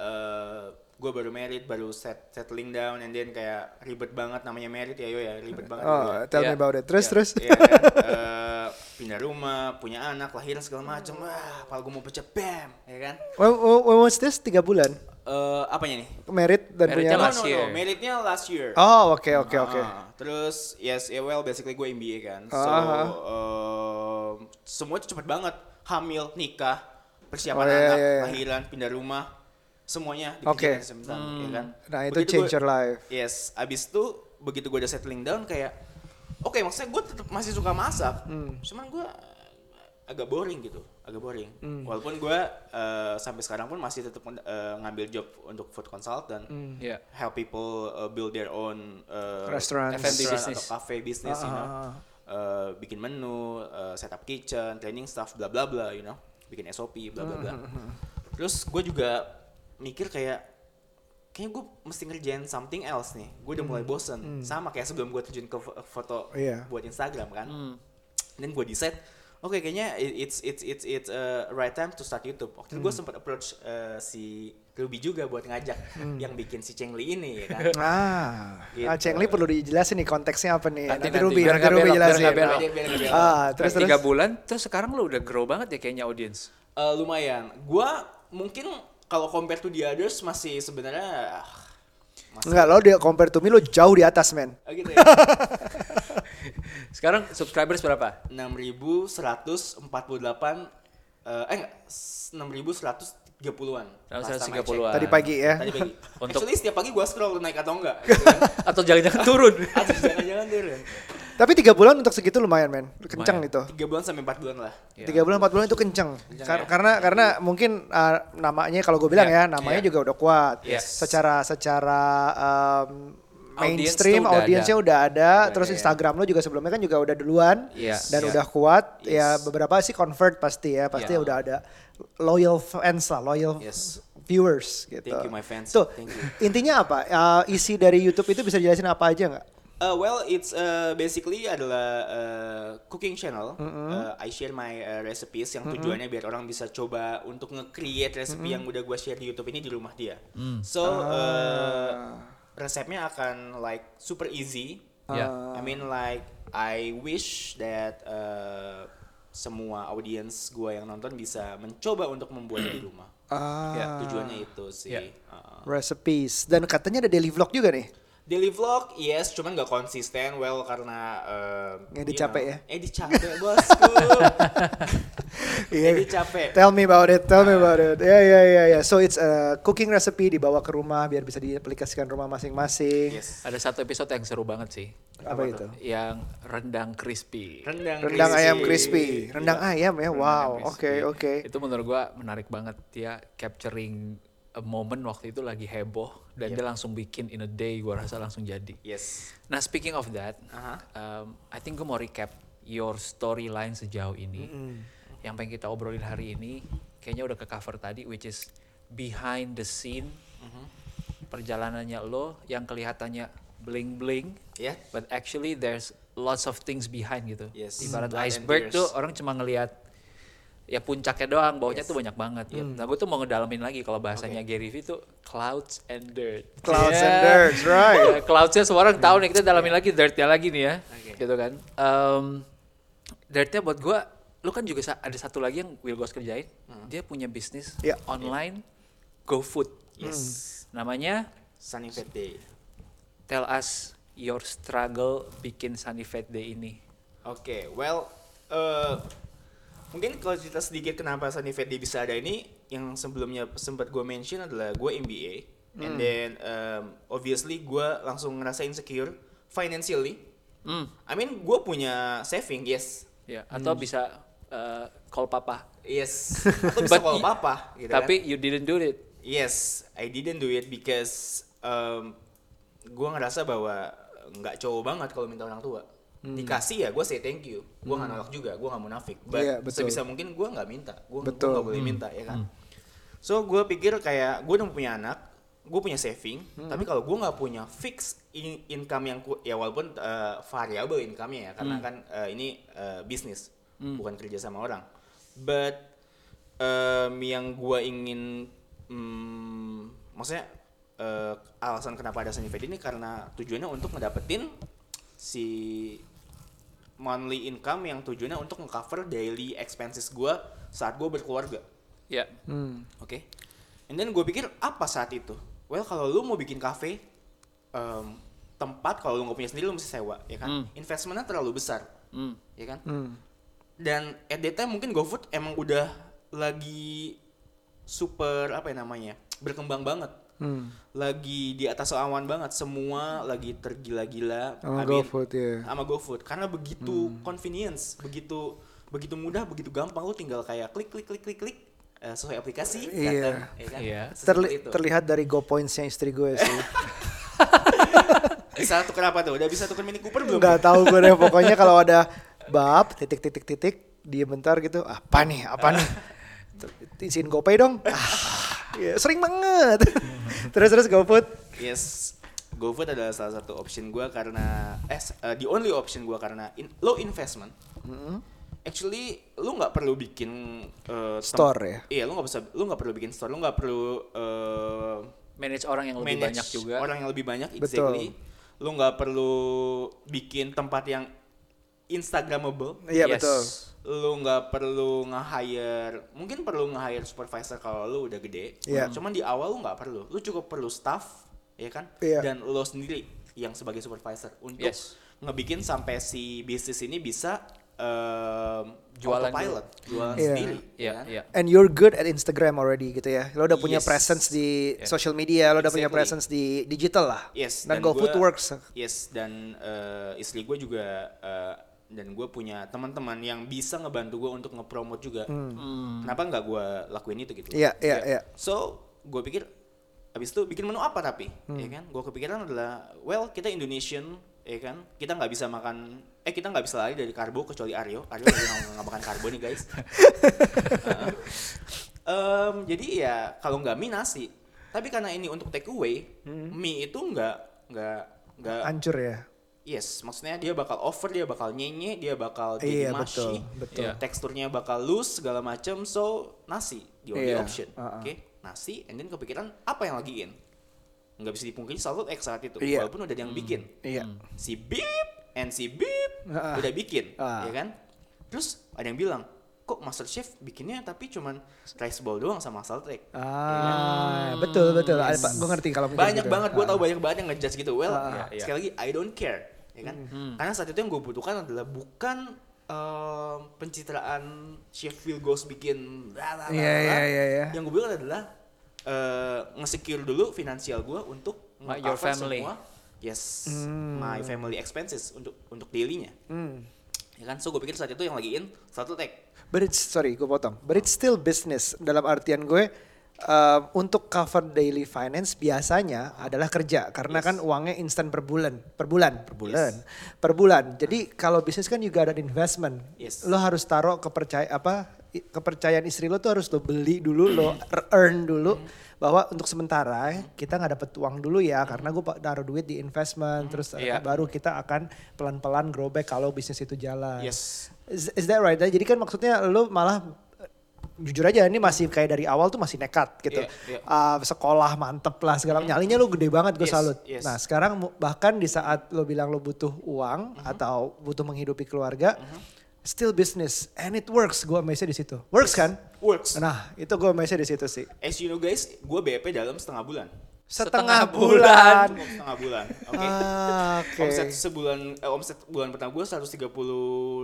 Speaker 1: eh gue baru married, baru set settling down and then kayak ribet banget namanya married ya yo ya, ribet banget.
Speaker 3: oh,
Speaker 1: gitu ya.
Speaker 3: tell me
Speaker 2: Iya.
Speaker 3: about it. Terus
Speaker 1: Ya,
Speaker 3: terus.
Speaker 1: ya kan? Eh, pindah rumah, punya anak, lahiran segala macem. Wah, pal gue mau pecah bam, ya kan?
Speaker 3: When, when- when was this? Tiga bulan.
Speaker 1: Eh apanya nih?
Speaker 3: Married dan
Speaker 2: Marriednya
Speaker 3: punya anak.
Speaker 2: last
Speaker 1: no, no,
Speaker 2: year.
Speaker 1: no, marriednya last year.
Speaker 3: Oh, oke oke oke.
Speaker 1: Ah, Terus yes, yeah, well basically gue MBA kan. So
Speaker 3: Ah.
Speaker 1: um, semua itu cepet banget. Hamil, nikah, persiapan
Speaker 3: Oh, iya,
Speaker 1: anak,
Speaker 3: iya, iya.
Speaker 1: lahiran, pindah rumah, semuanya
Speaker 3: Oke.
Speaker 1: dikerjakan sebentar, ya kan?
Speaker 3: Nah, itu
Speaker 1: Begitu
Speaker 3: change
Speaker 1: gue-
Speaker 3: your life.
Speaker 1: Yes, abis itu begitu gue udah settling down kayak oke maksudnya gue tetap masih suka masak,
Speaker 3: Hmm.
Speaker 1: cuman gue agak boring gitu, agak boring.
Speaker 3: Hmm.
Speaker 1: Walaupun gue eh, sampai sekarang pun masih tetap eh, ngambil job untuk food consultant
Speaker 3: Hmm.
Speaker 2: Ya.
Speaker 1: help people uh, build their own uh,
Speaker 3: Restaurants. Ah,
Speaker 2: F&B
Speaker 1: restaurant
Speaker 2: business.
Speaker 1: atau cafe business, you know, Uh, bikin menu, uh, setup kitchen, training staff, bla bla bla, you know, bikin SOP, bla bla bla. Terus gue juga mikir kayak kayaknya gue mesti ngerjain something else nih. Gue udah mulai bosen, sama kayak sebelum gue terjun ke fo- foto
Speaker 3: Iya.
Speaker 1: buat Instagram kan. Dan gue decide, oke kayaknya i- it's it's it's it's uh, right time to start YouTube. Waktu itu gue sempat approach uh, si Ruby juga buat ngajak yang bikin si Cengli ini ya kan.
Speaker 3: Ah,
Speaker 1: Gitu.
Speaker 3: ah Cengli perlu dijelasin nih konteksnya apa nih. Nanti,
Speaker 2: Nanti, nanti,
Speaker 3: Ruby,
Speaker 2: biar
Speaker 3: nanti
Speaker 2: nggak
Speaker 3: Ruby
Speaker 2: belok, biar
Speaker 3: jelasin.
Speaker 2: nggak belok.
Speaker 1: Biar- biar- biar-
Speaker 3: Ah,
Speaker 2: Terus
Speaker 3: terus
Speaker 2: tiga
Speaker 3: terus.
Speaker 2: bulan, terus sekarang lo udah grow banget ya kayaknya audience.
Speaker 1: Eh, lumayan. Gua mungkin kalau compare to the others masih sebenarnya ah, masih
Speaker 3: Enggak, lo dia compare to me lo jauh di atas, men.
Speaker 1: Ah, gitu ya.
Speaker 2: Sekarang subscribers berapa?
Speaker 1: 6148 eh eh enggak 6130-an. Last time I
Speaker 2: 6130-an.
Speaker 1: check.
Speaker 3: Tadi pagi ya.
Speaker 1: Tadi pagi.
Speaker 2: Untuk-
Speaker 1: Actually setiap pagi gua scroll naik atau enggak.
Speaker 2: Atau jangan-jangan turun?
Speaker 1: Aduh jangan-jangan turun.
Speaker 3: Tapi tiga bulan untuk segitu lumayan men, kencang itu.
Speaker 1: Tiga bulan sampai empat bulan lah.
Speaker 2: Iya.
Speaker 3: Tiga bulan empat bulan itu kencang.
Speaker 1: Kencang
Speaker 3: Kar-
Speaker 1: ya.
Speaker 3: Karena karena mungkin uh, namanya kalau gue bilang
Speaker 2: Iya,
Speaker 3: ya namanya
Speaker 2: iya.
Speaker 3: juga udah kuat.
Speaker 2: Yes.
Speaker 3: Secara secara um,
Speaker 2: Audience
Speaker 3: mainstream
Speaker 2: tuh udah
Speaker 3: audiensnya udah ada.
Speaker 1: Udah
Speaker 3: Terus
Speaker 1: ada ya.
Speaker 3: Instagram lo juga sebelumnya kan juga udah duluan
Speaker 2: Iya.
Speaker 3: dan
Speaker 2: Iya.
Speaker 3: udah kuat. Ya
Speaker 1: Yes.
Speaker 3: beberapa sih convert pasti ya pasti
Speaker 2: Iya.
Speaker 3: udah ada loyal fans lah loyal
Speaker 1: Yes.
Speaker 3: viewers gitu.
Speaker 1: Thank you my fans.
Speaker 3: Tuh
Speaker 1: Thank you.
Speaker 3: intinya apa? Uh, isi dari YouTube itu bisa jelasin apa aja nggak?
Speaker 1: Uh, well, it's uh, basically adalah uh, cooking channel. Uh, I share my uh, recipes yang tujuannya biar orang bisa coba untuk nge-create resepi yang udah gue share di YouTube ini di rumah dia. So uh, resepnya akan like super easy.
Speaker 2: Ya.
Speaker 3: Ah.
Speaker 1: I mean like I wish that uh, semua audience gue yang nonton bisa mencoba untuk membuat di rumah.
Speaker 3: Ah,
Speaker 1: Ya, tujuannya itu sih.
Speaker 2: Ya.
Speaker 1: Uh,
Speaker 3: recipes dan katanya ada daily vlog juga nih.
Speaker 1: Daily vlog, yes, cuman gak konsisten. Well, karena eh,
Speaker 3: Ngedit
Speaker 1: you
Speaker 3: capek
Speaker 1: know.
Speaker 3: ya?
Speaker 1: Edit capek bosku.
Speaker 3: Iya.
Speaker 1: Edit capek.
Speaker 3: Tell me about it, tell me about it. Ya, ya, ya, ya. So it's a cooking recipe dibawa ke rumah biar bisa diaplikasikan rumah masing-masing.
Speaker 1: Yes.
Speaker 2: Ada satu episode yang seru banget sih,
Speaker 3: Apa itu?
Speaker 2: yang rendang crispy.
Speaker 1: Rendang,
Speaker 3: Rendang
Speaker 1: crispy. Iya.
Speaker 3: ayam crispy, rendang ayam ya. Wow,
Speaker 2: Rendang
Speaker 3: oke,
Speaker 2: crispy.
Speaker 3: oke.
Speaker 2: Itu menurut gua menarik banget dia capturing a moment waktu itu lagi heboh
Speaker 3: Iya.
Speaker 2: dan dia langsung bikin in a day gua rasa langsung jadi.
Speaker 1: Yes.
Speaker 2: Nah, speaking of that,
Speaker 1: Aha.
Speaker 2: um, I think gue mau recap your storyline sejauh ini. Yang pengen kita obrolin hari ini, kayaknya udah ke cover tadi, which is behind the scene, perjalanannya lo yang kelihatannya bling bling,
Speaker 1: Ya.
Speaker 2: but actually there's lots of things behind gitu.
Speaker 1: Yes.
Speaker 2: Ibarat
Speaker 1: Blood and
Speaker 2: iceberg
Speaker 1: tears.
Speaker 2: tuh orang cuma ngelihat ya puncaknya doang, bawahnya tuh banyak banget.
Speaker 1: Hmm.
Speaker 2: Nah, gue tuh mau ngedalamin lagi kalau bahasanya Gary Vee tuh clouds and dirt.
Speaker 3: Clouds and
Speaker 2: Yeah.
Speaker 3: dirt, right.
Speaker 2: Ya, Clouds-nya semua orang tahu nih, kita dalamin lagi dirtnya lagi nih ya.
Speaker 1: Oke.
Speaker 2: Gitu kan. Em, dirtnya buat gua lu kan juga sa- ada satu lagi yang Will Goss kerjain.
Speaker 1: Hmm.
Speaker 2: Dia punya bisnis
Speaker 3: Ya.
Speaker 2: online GoFood. Hmm.
Speaker 1: Yes.
Speaker 2: Namanya
Speaker 1: Sunny Fat Day.
Speaker 2: Tell Us Your Struggle bikin Sunny Fat Day ini.
Speaker 1: Oke, well, eh, mungkin kalau cerita sedikit kenapa Sunny Fat Day bisa ada ini, yang sebelumnya sempat gue mention adalah gue MBA, and
Speaker 3: Hmm.
Speaker 1: then um, obviously gue langsung ngerasa insecure financially.
Speaker 2: Hmm.
Speaker 1: I mean, gue punya saving, yes,
Speaker 2: Ya, atau bisa eh, call papa.
Speaker 1: yes. Atau bisa
Speaker 2: But
Speaker 1: call
Speaker 2: y-
Speaker 1: papa, gitu kan.
Speaker 2: Tapi you didn't do it.
Speaker 1: Yes, I didn't do it because um, gue ngerasa bahwa nggak cowok banget kalau minta orang tua. Dikasih ya gue say thank you. Gue nggak nolak juga, gue nggak munafik. But
Speaker 3: Iya, betul.
Speaker 1: sebisa mungkin gue nggak minta. Gue
Speaker 3: Betul.
Speaker 1: nggak boleh minta ya kan. So gue pikir kayak gue udah punya anak, gue punya saving. Tapi kalau gue nggak punya fixed in- income yang ku- ya walaupun uh, variable income-nya ya karena kan uh, ini uh, bisnis bukan kerja sama orang. But um, yang gue ingin um, maksudnya uh, alasan kenapa ada Sunny Fade ini karena tujuannya untuk ngedapetin si monthly income yang tujuannya untuk ngecover daily expenses gue saat gue berkeluarga
Speaker 2: Ya.
Speaker 1: oke and then gue pikir apa saat itu well kalau lu mau bikin cafe em, tempat kalau lu nggak punya sendiri lu mesti sewa ya kan investmentnya terlalu besar
Speaker 2: Hmm.
Speaker 1: ya kan dan at that time mungkin GoFood emang udah lagi super apa ya namanya berkembang banget
Speaker 3: Hmm.
Speaker 1: lagi di atas awan banget semua lagi tergila-gila I mean,
Speaker 3: Sama GoFood, Hmm. ya.
Speaker 1: sama GoFood karena begitu convenience begitu begitu mudah begitu gampang lu tinggal kayak klik klik klik klik klik eh, sesuai aplikasi
Speaker 3: Iya.
Speaker 1: datang, ya kan?
Speaker 2: Iya.
Speaker 1: Seperti
Speaker 3: Terli-
Speaker 1: itu.
Speaker 3: terlihat dari go pointsnya istri gue sih.
Speaker 1: bisa tuker apa tuh udah bisa tuker Mini Cooper belum
Speaker 3: Nggak tahu gue deh. Pokoknya kalau ada bab titik titik titik dia bentar gitu. Apa nih? Apa nih? Izin GoPay dong. Ah, ya, sering banget. terus terus GoFood.
Speaker 1: Yes, GoFood adalah salah satu option gua karena eh s- eh, the only option gua karena in, low investment.
Speaker 3: Hmm.
Speaker 1: Actually, lu nggak perlu bikin eh, tem-
Speaker 3: Store ya?
Speaker 1: Iya, lu nggak bisa, lu nggak perlu bikin store, lu nggak perlu eh,
Speaker 2: Manage orang yang lebih
Speaker 1: manage
Speaker 2: banyak juga.
Speaker 1: orang yang lebih banyak.
Speaker 3: Betul.
Speaker 1: Exactly. Lu nggak perlu bikin tempat yang instagramable.
Speaker 3: Iya
Speaker 2: Yes.
Speaker 3: betul.
Speaker 1: Lu nggak perlu nge-hire, mungkin perlu nge-hire supervisor kalau lu udah gede.
Speaker 3: Iya.
Speaker 1: Cuman di awal lu nggak perlu. Lu cukup perlu staff, ya kan?
Speaker 3: Iya.
Speaker 1: Dan lo sendiri yang sebagai supervisor untuk
Speaker 2: Yes.
Speaker 1: ngebikin sampai si bisnis ini bisa em,
Speaker 2: Jualan
Speaker 1: autopilot, jualan
Speaker 3: Iya.
Speaker 1: sendiri.
Speaker 2: Iya,
Speaker 1: kan?
Speaker 2: iya.
Speaker 3: And you're good at Instagram already gitu ya. Lo udah punya
Speaker 1: Yes.
Speaker 3: presence di social media, lo udah punya
Speaker 1: Exactly.
Speaker 3: presence di digital lah.
Speaker 1: Yes.
Speaker 3: Dan, GoFood
Speaker 1: gua- uh,
Speaker 3: works.
Speaker 1: Yes. Dan eh, istri gue juga eh, dan gue punya teman-teman yang bisa ngebantu gue untuk ngepromote juga. Kenapa nggak gue lakuin itu gitu?
Speaker 3: Hmm. Iya, iya, iya.
Speaker 1: So gue pikir abis itu bikin menu apa tapi,
Speaker 3: Hmm.
Speaker 1: ya kan? Gue kepikiran adalah well kita Indonesian, ya kan? Kita nggak bisa makan, eh kita nggak bisa lari dari karbo kecuali Aryo. Aryo lagi nggak- nggak makan karbo nih guys. Heeh. Em, jadi ya kalau nggak mie nasi, tapi karena ini untuk take away,
Speaker 3: Hmm.
Speaker 1: mie itu nggak nggak nggak
Speaker 3: Hancur ya.
Speaker 1: yes, maksudnya dia bakal over, dia bakal nyenye, dia bakal jadi
Speaker 3: Iya, betul,
Speaker 1: mushy,
Speaker 3: betul.
Speaker 2: Iya.
Speaker 1: teksturnya bakal loose segala macam, so nasi the only
Speaker 3: Iya,
Speaker 1: option,
Speaker 3: uh-uh.
Speaker 1: oke? Nasi, and then kepikiran apa yang lagiin? Nggak bisa dipungkiri salted egg saat itu,
Speaker 3: Iya.
Speaker 1: walaupun udah ada yang bikin
Speaker 3: Iya.
Speaker 1: si Bip and si Bip
Speaker 3: Ah.
Speaker 1: udah bikin,
Speaker 3: Ah.
Speaker 1: ya kan? Terus ada yang bilang, kok Master Chef bikinnya tapi cuman rice bowl doang sama salt egg.
Speaker 3: Ah, betul betul. Gue ngerti kalau mikir
Speaker 1: Banyak
Speaker 3: gitu.
Speaker 1: banget, gue tau banyak banget yang ngejudge gitu. Well,
Speaker 2: Ah. Iya, Hmm. iya.
Speaker 1: sekali lagi I don't care, ya kan? Karena saat itu yang gue butuhkan adalah bukan eh, pencitraan Chef Will Goes bikin, bla, bla, bla,
Speaker 3: Iya,
Speaker 1: bla.
Speaker 3: iya, iya, iya.
Speaker 1: Yang gue bilang adalah eh nge-secure dulu finansial gue untuk
Speaker 2: My- your
Speaker 1: nge-cover
Speaker 2: family.
Speaker 1: semua yes my family expenses untuk untuk dailynya
Speaker 3: Hmm.
Speaker 1: ya kan so gue pikir saat itu yang lagiin satu tag
Speaker 3: But it's sorry, gue potong. But it's still business dalam artian gue um, untuk cover daily finance biasanya adalah kerja karena kan uangnya instan per bulan, per bulan, per bulan, per bulan. Jadi kalau bisnis kan juga ada investment.
Speaker 1: Yes.
Speaker 3: Lo harus taruh kepercaya apa i- kepercayaan istri lo tuh harus lo beli dulu, lo er- earn dulu bahwa untuk sementara kita nggak dapet uang dulu ya karena gue pa- taruh duit di investment terus
Speaker 2: Iya.
Speaker 3: baru kita akan pelan-pelan grow back kalau bisnis itu jalan.
Speaker 1: yes
Speaker 3: Is, is that right? Jadi kan maksudnya lu malah jujur aja ini masih kayak dari awal tuh masih nekat gitu.
Speaker 1: Iya, iya.
Speaker 3: Ah, sekolah mantep lah segala nyalinya lu gede banget gue
Speaker 1: Yes,
Speaker 3: salut.
Speaker 1: yes.
Speaker 3: Nah sekarang mu- bahkan di saat lu bilang lu butuh uang
Speaker 1: Mhm.
Speaker 3: atau butuh menghidupi keluarga, still business and it works. Gue amazed di situ. Works kan?
Speaker 1: works
Speaker 3: Nah itu gue amazed di situ sih.
Speaker 1: as you know guys gue BP dalam setengah bulan
Speaker 3: Setengah,
Speaker 2: Setengah
Speaker 3: bulan.
Speaker 1: Cukup setengah bulan oke
Speaker 3: Ah, Oke.
Speaker 1: omset sebulan eh, omset bulan pertama gue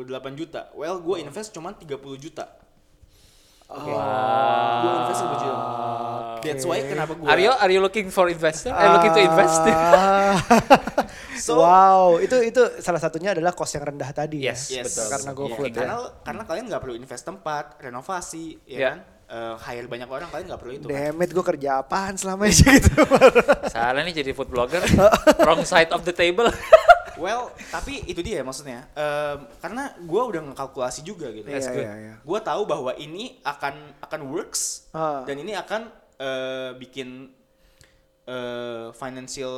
Speaker 1: 138 juta well gue invest cuman 30 juta Oke, gue invest 30 juta. That's why kenapa gue.
Speaker 2: Are you are you looking for investor?
Speaker 1: Eh,
Speaker 2: Are you looking to invest?
Speaker 3: Ah.
Speaker 1: gitu, So-
Speaker 3: wow, itu itu salah satunya adalah kos yang rendah tadi. ya?
Speaker 2: Yes,
Speaker 1: Yes.
Speaker 2: betul.
Speaker 3: Karena
Speaker 1: Iya,
Speaker 3: GoFood
Speaker 1: Karena,
Speaker 3: ya.
Speaker 1: karena kalian nggak perlu invest tempat, renovasi, ya
Speaker 2: Iya.
Speaker 1: kan? Eh, hire banyak orang kalian nggak perlu itu. kan?
Speaker 3: Damn it, gue kerja apaan selama ini gitu.
Speaker 2: Salah nih jadi food blogger. Wrong side of the table.
Speaker 1: Well, tapi itu dia maksudnya. Em, karena gue udah ngekalkulasi juga gitu.
Speaker 3: That's good.
Speaker 1: Gue tahu bahwa ini akan akan works
Speaker 3: Ah.
Speaker 1: dan ini akan eh, bikin eh, financial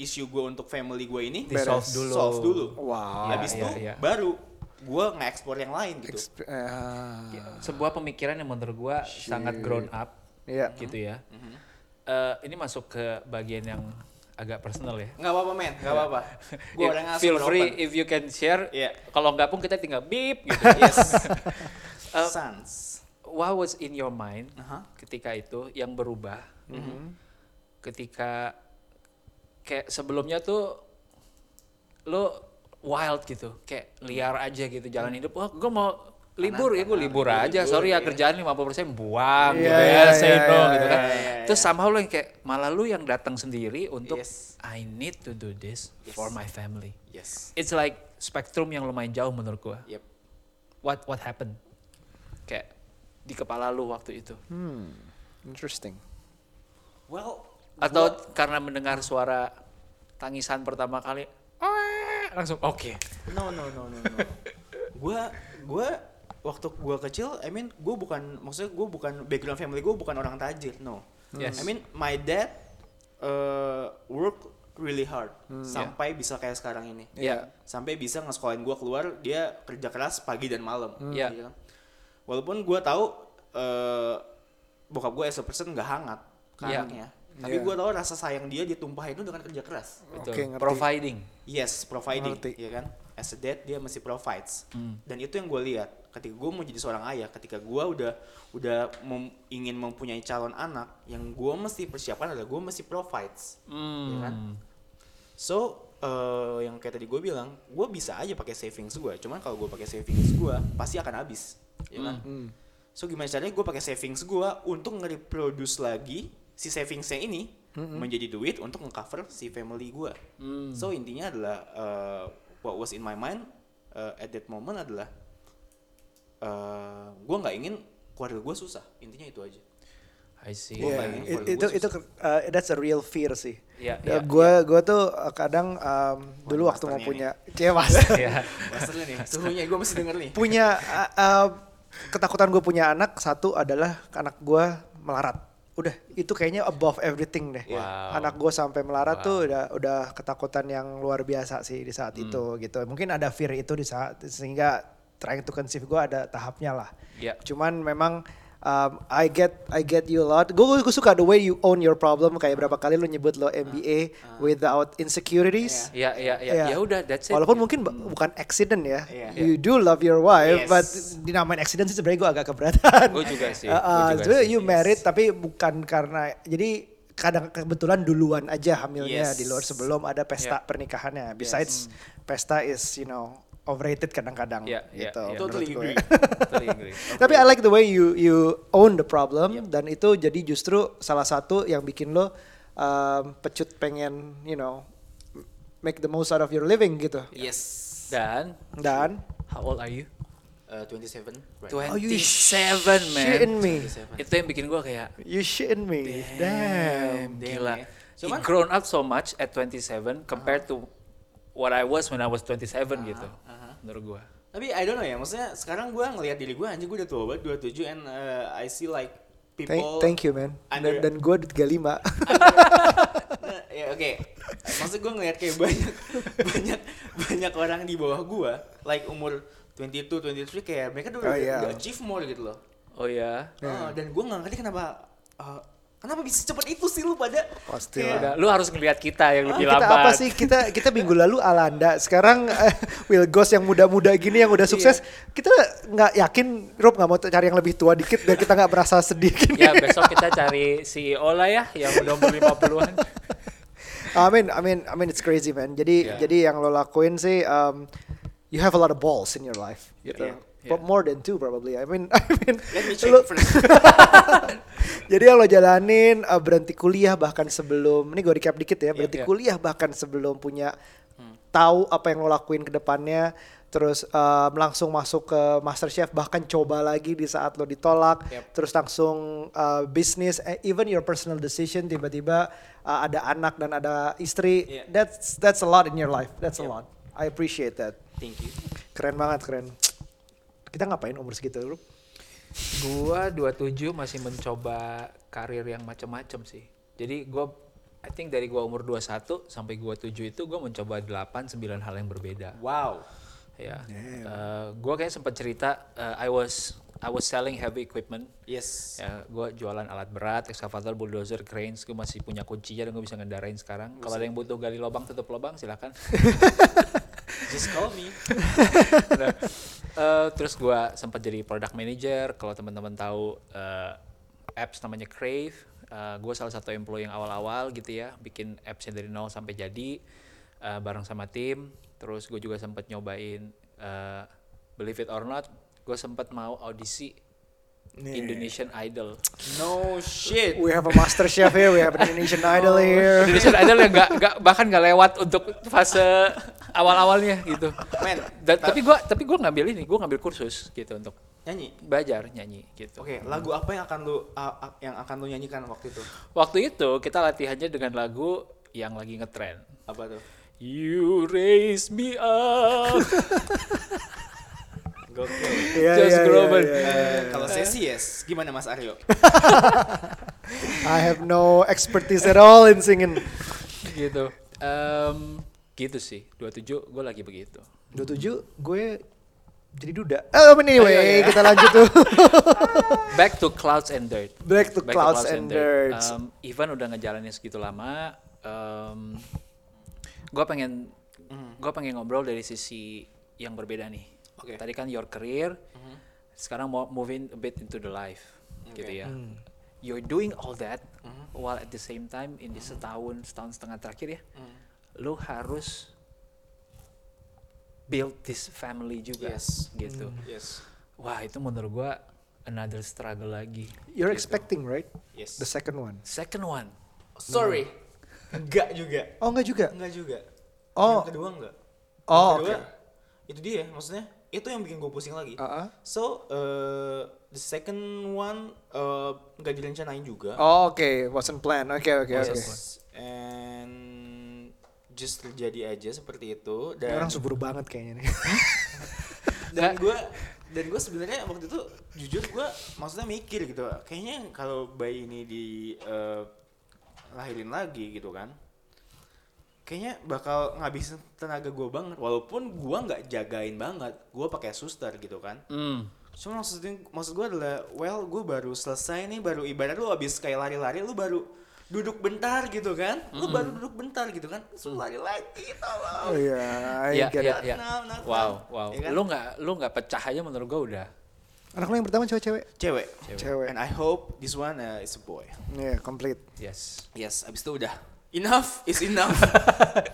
Speaker 1: issue gue untuk family gue ini
Speaker 3: Di solve
Speaker 1: beres.
Speaker 3: dulu.
Speaker 1: Solve dulu.
Speaker 3: Wow.
Speaker 1: Habis
Speaker 2: Iya,
Speaker 1: itu
Speaker 2: iya, iya.
Speaker 1: baru gue nge-explore yang lain gitu.
Speaker 3: Exp- ah.
Speaker 2: Ya, Sebuah pemikiran yang menurut gua sangat grown up
Speaker 3: Iya.
Speaker 2: gitu ya. Eh, ini masuk ke bagian yang agak personal ya.
Speaker 1: Nggak apa-apa men, nggak apa-apa. Gue
Speaker 2: If-
Speaker 1: orang asli
Speaker 2: Iya, Feel free if you can share.
Speaker 1: Iya.
Speaker 2: Kalau nggak pun kita tinggal beep gitu.
Speaker 1: Yes.
Speaker 2: Eh,
Speaker 1: Sans.
Speaker 2: What was in your mind
Speaker 1: Aha. Mhm.
Speaker 2: ketika itu yang berubah? Ketika kayak sebelumnya tuh lo wild gitu, kayak liar aja gitu jalan hidup. Oh, gue mau libur ya gue libur
Speaker 1: libur,
Speaker 2: aja.
Speaker 1: libur,
Speaker 2: Sorry ya
Speaker 1: iya.
Speaker 2: kerjaan 50% buang gitu
Speaker 3: Iya,
Speaker 2: ya,
Speaker 3: iya,
Speaker 2: say
Speaker 3: iya,
Speaker 2: no
Speaker 3: iya,
Speaker 2: gitu kan.
Speaker 1: iya, iya,
Speaker 2: Terus somehow lo yang kayak malah lu yang datang sendiri untuk
Speaker 1: Yes.
Speaker 2: I need to do this for my family.
Speaker 1: Yes.
Speaker 2: It's like spektrum yang lumayan jauh menurut gua
Speaker 1: Yep.
Speaker 2: what what happened kayak di kepala lu waktu itu
Speaker 3: Hmm. Interesting.
Speaker 1: Well,
Speaker 2: atau karena mendengar suara tangisan pertama kali "Oe!" langsung oke
Speaker 1: no no no no no. gua gua waktu gua kecil, I mean gua bukan maksudnya gua bukan background family gua bukan orang tajir, no.
Speaker 2: Yes.
Speaker 1: I mean my dad uh, work really hard sampai bisa kayak sekarang ini.
Speaker 2: Iya.
Speaker 1: Sampai bisa ngesekolahin gua keluar, dia kerja keras pagi dan malam.
Speaker 2: Iya.
Speaker 1: kan? Walaupun gua tahu eh bokap gua as a person nggak hangat ke
Speaker 2: Iya.
Speaker 1: anaknya. Tapi
Speaker 3: Iya.
Speaker 1: gua tahu rasa sayang dia ditumpahin itu dengan kerja keras.
Speaker 2: betul
Speaker 3: Oke, ngerti.
Speaker 2: providing
Speaker 1: Yes, providing,
Speaker 3: Ngerti.
Speaker 1: ya kan? As a dad dia masih provides. Dan itu yang gue lihat ketika gue mau jadi seorang ayah, ketika gue udah udah mem- ingin mempunyai calon anak,
Speaker 3: Hmm.
Speaker 1: yang gue mesti persiapkan adalah gue mesti provides.
Speaker 2: Hmm.
Speaker 1: kan? Iya So eh, yang kayak tadi gue bilang, gue bisa aja pakai savings gue. Cuman kalau gue pakai savings gue, pasti akan habis, ya kan?
Speaker 3: Hmm.
Speaker 1: So gimana caranya gue pakai savings gue untuk nge-reproduce lagi si savingsnya ini
Speaker 3: Hmm.
Speaker 1: menjadi duit untuk nge-cover si family gue. So intinya adalah eh, what was in my mind eh, at that moment adalah eh gue nggak ingin keluarga gue susah. Intinya itu aja.
Speaker 2: I see.
Speaker 1: Gua
Speaker 3: Iya,
Speaker 1: bayangin
Speaker 3: it-
Speaker 1: keluarga
Speaker 3: itu
Speaker 1: gua
Speaker 3: itu uh, that's a real fear sih.
Speaker 2: Iya, iya,
Speaker 3: Ya, gua gua tuh uh, kadang um, dulu waktu mau
Speaker 1: masternya
Speaker 3: punya cewas
Speaker 2: Iya.
Speaker 1: Masternya nih, suhunya gue mesti denger nih.
Speaker 3: punya uh, uh, ketakutan gue punya anak satu adalah anak gua melarat. Udah itu kayaknya above everything deh.
Speaker 2: Wow.
Speaker 3: Anak gue sampai melarat tuh udah udah ketakutan yang luar biasa sih di saat
Speaker 2: Hmm.
Speaker 3: itu gitu. Mungkin ada fear itu di saat sehingga trying to conceive gua ada tahapnya lah.
Speaker 2: Iya.
Speaker 3: Cuman memang um, I get I get you a lot. Gue suka the way you own your problem kayak berapa kali lu nyebut lo MBA without insecurities.
Speaker 2: Iya, iya, iya.
Speaker 3: Iya.
Speaker 2: Ah. Ya udah, that's it.
Speaker 3: Walaupun mungkin ba- bukan accident ya,
Speaker 1: Iya.
Speaker 3: you do love your wife,
Speaker 1: Yes.
Speaker 3: but dinamain accident sih sebenarnya gue agak keberatan.
Speaker 2: Gua juga sih, gua
Speaker 3: Uh, uh,
Speaker 2: juga
Speaker 3: sebenarnya
Speaker 2: sih,
Speaker 3: you married tapi bukan karena jadi kadang kebetulan duluan aja hamilnya
Speaker 1: Yes.
Speaker 3: di luar sebelum ada pesta
Speaker 2: Yeah.
Speaker 3: pernikahannya. Besides pesta is you know overrated kadang-kadang
Speaker 2: Yeah, yeah,
Speaker 3: gitu.
Speaker 2: yeah.
Speaker 3: menurut
Speaker 1: Totally
Speaker 3: gue.
Speaker 1: agree.
Speaker 2: Totally agree.
Speaker 3: Tapi I like the way you you own the problem dan itu jadi justru salah satu yang bikin lo um, pecut pengen you know make the most out of your living gitu.
Speaker 2: Iya.
Speaker 1: Yes.
Speaker 2: Dan,
Speaker 3: Dan
Speaker 2: how old are you?
Speaker 1: Uh, 27. Right.
Speaker 2: 27,
Speaker 3: Oh, you shitting
Speaker 2: man.
Speaker 3: me.
Speaker 2: Itu yang bikin gua kayak,
Speaker 3: You shitting me.
Speaker 1: Damn,
Speaker 3: Damn.
Speaker 2: gila.
Speaker 1: ya.
Speaker 2: He
Speaker 1: Cuman-
Speaker 2: grown up so much at 27 compared
Speaker 3: Uh-huh.
Speaker 2: to what I was when I was 27 gitu. Menurut gua.
Speaker 1: Tapi I don't know ya, maksudnya sekarang gue ngelihat diri gue anjing gue udah tua banget 27 and uh, I see like people
Speaker 3: Thank, thank you man.
Speaker 1: under-
Speaker 3: Dan, dan gue 35.
Speaker 1: Nah, ya oke. Maksud gue ngelihat kayak banyak banyak banyak orang di bawah gue like umur 22, 23 kayak mereka udah
Speaker 3: Oh, iya.
Speaker 1: udah achieve more gitu loh.
Speaker 2: Oh ya.
Speaker 1: Oh, dan gue nggak ngerti kenapa uh, kenapa bisa cepet itu sih lu pada
Speaker 3: Pasti
Speaker 1: kayak-
Speaker 2: Udah, lu harus ngelihat kita yang lebih
Speaker 3: Iya. Ah, kita
Speaker 2: lambat.
Speaker 3: apa sih kita kita minggu lalu Alanda sekarang eh, Will Ghost yang muda-muda gini yang
Speaker 1: Iya.
Speaker 3: udah sukses kita nggak yakin Rob nggak mau cari yang lebih tua dikit biar kita nggak merasa sedih gini.
Speaker 2: Ya besok kita cari CEO lah ya yang udah umur 50-an.
Speaker 3: Amin, amin, amin. It's crazy, man. Jadi,
Speaker 1: Iya.
Speaker 2: Yeah.
Speaker 3: jadi yang lo lakuin sih, um, you have a lot of balls in your life, gitu.
Speaker 1: Iya.
Speaker 2: Yeah, yeah.
Speaker 3: But more than two probably. I mean, I mean.
Speaker 1: Let me check
Speaker 3: lo-
Speaker 1: first.
Speaker 3: jadi yang lo jalanin uh, berhenti kuliah bahkan sebelum, ini gue recap dikit ya, berhenti
Speaker 2: yeah.
Speaker 3: kuliah bahkan sebelum punya tahu apa yang lo lakuin ke depannya, terus um, langsung masuk ke MasterChef bahkan coba lagi di saat lo ditolak,
Speaker 1: Yep.
Speaker 3: terus langsung uh, bisnis, eh, even your personal decision tiba-tiba uh, ada anak dan ada istri,
Speaker 1: Yeah.
Speaker 3: that's that's a lot in your life, that's a
Speaker 1: Yep.
Speaker 3: lot. I appreciate that.
Speaker 1: Thank you.
Speaker 3: Keren banget, keren. Kita ngapain umur segitu, Rup?
Speaker 2: Gua 27 masih mencoba karir yang macam-macam sih. Jadi gua I think dari gua umur 21 sampai gua 7 itu gua mencoba 8 9 hal yang berbeda.
Speaker 1: Wow.
Speaker 2: Ya. Eh, gua kayak sempat cerita eh, I was I was selling heavy equipment.
Speaker 1: Yes.
Speaker 2: Ya, gua jualan alat berat, excavator, bulldozer, cranes. Gue masih punya kuncinya dan gue bisa ngendarain sekarang. Kalau ada yang butuh gali lubang, tutup lubang, silakan.
Speaker 1: Just call me.
Speaker 2: Nah, eh, terus gua sempat jadi product manager. Kalau teman-teman tahu eh, apps namanya Crave, eh, gua salah satu employee yang awal-awal gitu ya, bikin appsnya dari nol sampai jadi eh, bareng sama tim. Terus gue juga sempat nyobain eh, believe it or not, gue sempat mau audisi Indonesian Idol.
Speaker 1: No shit.
Speaker 3: We have a master chef here, we have an Indonesian idol here.
Speaker 2: Indonesian Idol yang gak, gak, bahkan nggak lewat untuk fase awal-awalnya gitu.
Speaker 1: Men,
Speaker 2: Dan,
Speaker 1: ta-
Speaker 2: tapi gua tapi gua ngambil ini, gua ngambil kursus gitu untuk
Speaker 1: nyanyi.
Speaker 2: belajar nyanyi gitu.
Speaker 1: Oke, lagu apa yang akan lu a- a- yang akan lu nyanyikan waktu itu?
Speaker 2: Waktu itu kita latihannya dengan lagu yang lagi ngetren.
Speaker 1: Apa tuh?
Speaker 2: You raise me up,
Speaker 1: Gokil.
Speaker 3: Yeah,
Speaker 2: Josh
Speaker 3: yeah,
Speaker 2: Groban.
Speaker 3: yeah, yeah.
Speaker 1: Eh, kalau sesi yes, gimana Mas Aryo?
Speaker 3: I have no expertise at all in singing.
Speaker 2: gitu. Em, gitu sih. 27 gue lagi begitu.
Speaker 3: 27 gue jadi duda. Oh, but anyway, kita lanjut tuh.
Speaker 2: Back to clouds and dirt.
Speaker 3: Back to Clouds and Dirt.
Speaker 2: Em, Um, Ivan udah ngejalanin segitu lama. em, gua pengen gua pengen ngobrol dari sisi yang berbeda nih.
Speaker 1: Mm-hmm. Oke. Mm-hmm.
Speaker 2: Tadi kan your career. Sekarang mau moving a bit into the life
Speaker 1: Oke.
Speaker 2: gitu
Speaker 1: Mm-hmm.
Speaker 2: ya.
Speaker 3: Hmm.
Speaker 2: You're doing all that
Speaker 1: Mm.
Speaker 2: while at the same time in this setahun setahun setengah terakhir ya. Lu harus build this family juga
Speaker 1: Yes.
Speaker 2: gitu.
Speaker 3: Hmm.
Speaker 1: Yes.
Speaker 2: Wah itu menurut gua another struggle lagi.
Speaker 3: You're expecting right?
Speaker 1: Yes.
Speaker 3: The second one.
Speaker 2: Second one,
Speaker 1: Sorry. Enggak juga.
Speaker 3: Oh enggak juga.
Speaker 1: Enggak juga.
Speaker 3: Oh.
Speaker 1: Yang kedua enggak.
Speaker 3: Oh,
Speaker 1: Yang kedua,
Speaker 3: oke.
Speaker 1: Itu dia maksudnya. Itu yang bikin gue pusing lagi.
Speaker 3: Uh-uh.
Speaker 1: So, uh, the second one uh, enggak direncanain juga.
Speaker 3: Oh oke, wasn't planned. Oke oke oke.
Speaker 1: Yes. And just terjadi aja seperti itu
Speaker 3: Ini
Speaker 1: dan
Speaker 3: Orang subur banget kayaknya nih.
Speaker 1: dan gue dan gue sebenarnya waktu itu jujur gue maksudnya mikir gitu kayaknya kalau bayi ini di eh, lahirin lagi gitu kan kayaknya bakal ngabisin tenaga gue banget walaupun gue nggak jagain banget gue pakai suster gitu kan
Speaker 2: Hmm.
Speaker 1: cuma maksudnya maksud gue adalah well gue baru selesai nih baru ibarat lu abis kayak lari-lari lu baru duduk bentar gitu kan lu baru duduk bentar gitu kan terus lu lari lagi tolong
Speaker 3: Oh iya, I
Speaker 2: ya,
Speaker 3: get
Speaker 2: Mm. ya,
Speaker 3: it.
Speaker 2: ya.
Speaker 1: Not now, not
Speaker 2: Wow,
Speaker 1: now.
Speaker 2: wow.
Speaker 1: Ya kan?
Speaker 2: Lu nggak, lu nggak pecah aja menurut gua udah.
Speaker 3: Anak lo yang pertama cewek-cewek?
Speaker 1: cewek
Speaker 3: Cewek.
Speaker 1: and I hope this one uh, is a boy
Speaker 3: Iya, complete.
Speaker 2: Yes.
Speaker 1: Yes, abis itu udah. Enough is enough.